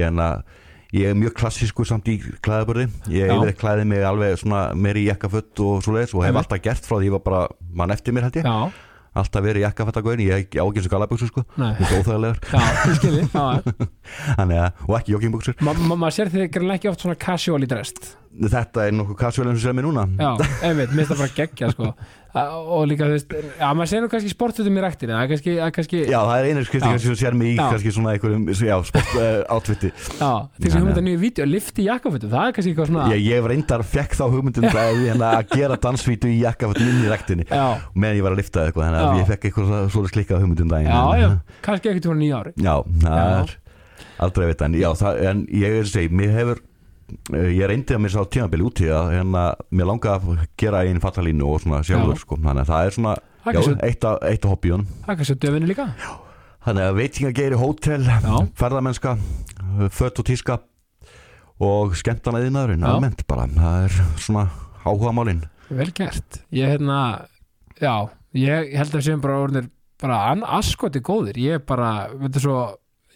ég en að ég er mjög klassísku samt í klæðaburði ég Já. yfir klæði mig alveg svona meir í jakkafött og svoleiðis og hef Einmitt. alltaf gert frá því ég var bara mann eftir mér held ég já, alltaf verið jakkaföttagauðin, ég á ekki eins og galabuksu sko Nei. og óþægilegar já, ég skilji já, já, Þannig að- og ekki joggingbuksur Ma- ma- maður sér þig greinlega ekki oft svona casual í drest þetta er nokkuð casual eins og sem er núna já, einmitt, mér finnst það bara geggja sko. Að- og líka þú veist já, maður sér nú kannski sportutum í ræktinni það er kannski, það er kannski Já, það er einir Já. skiptingar sem sér mig í Já. kannski svona einhverjum, já, sport uh, átviti já, því Já, sem hún já. þetta nýju vídeo, lifti jakkafötum það er kannski eitthvað svona Ég, ég reyndar, fekk þá hugmyndin að, hérna, að gera dansvítu í jakkaföt minni í rektinni Já. meðan ég var að lifta eitthvað þannig að Já. ég fekk eitthvað svo- svolítið slikka hugmyndin um daginn já, en, já, kannski ekkert úr nýja ári Já, það Já. er aldrei að vita en, já, það, en ég er að segja, mér hefur eh, ég reyndi að mér sá tímabili úti að hérna, mér langa að gera einn fattalínu og svona sjálfur, Já. sko, þannig að það er svona Það er já, kannski- eitt, af, eitt af hobbyunum það er kannski döfinni líka Þannig að veitingageiri hótel, Já. ferðamennska, fött og tíska og skemmtana yðnaðurinn, Já. almennt bara, það er svona áhugamálinn. vel gert, ég hérna já, ég held að við séum bara orðinir bara an, askoti góðir ég er bara, veitur svo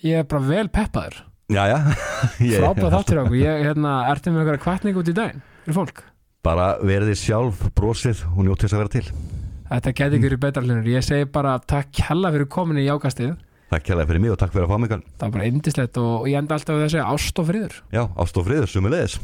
ég er bara vel peppaður, Jæja, ég frábæð þáttir okkur ég hérna, ertu með einhverja kvartning út í daginn fyrir fólk bara verðið sjálf brosið og njótið þess að vera til. Þetta geti ekki verið betra hlinur. Ég segi bara takk hella fyrir komin í jákastið. Takk kærlega fyrir mig og takk fyrir að fá mig. Karl. Það var bara indislegt og ég enda alltaf á því að segja ást og friður. Já, ást og friður, sumulegis.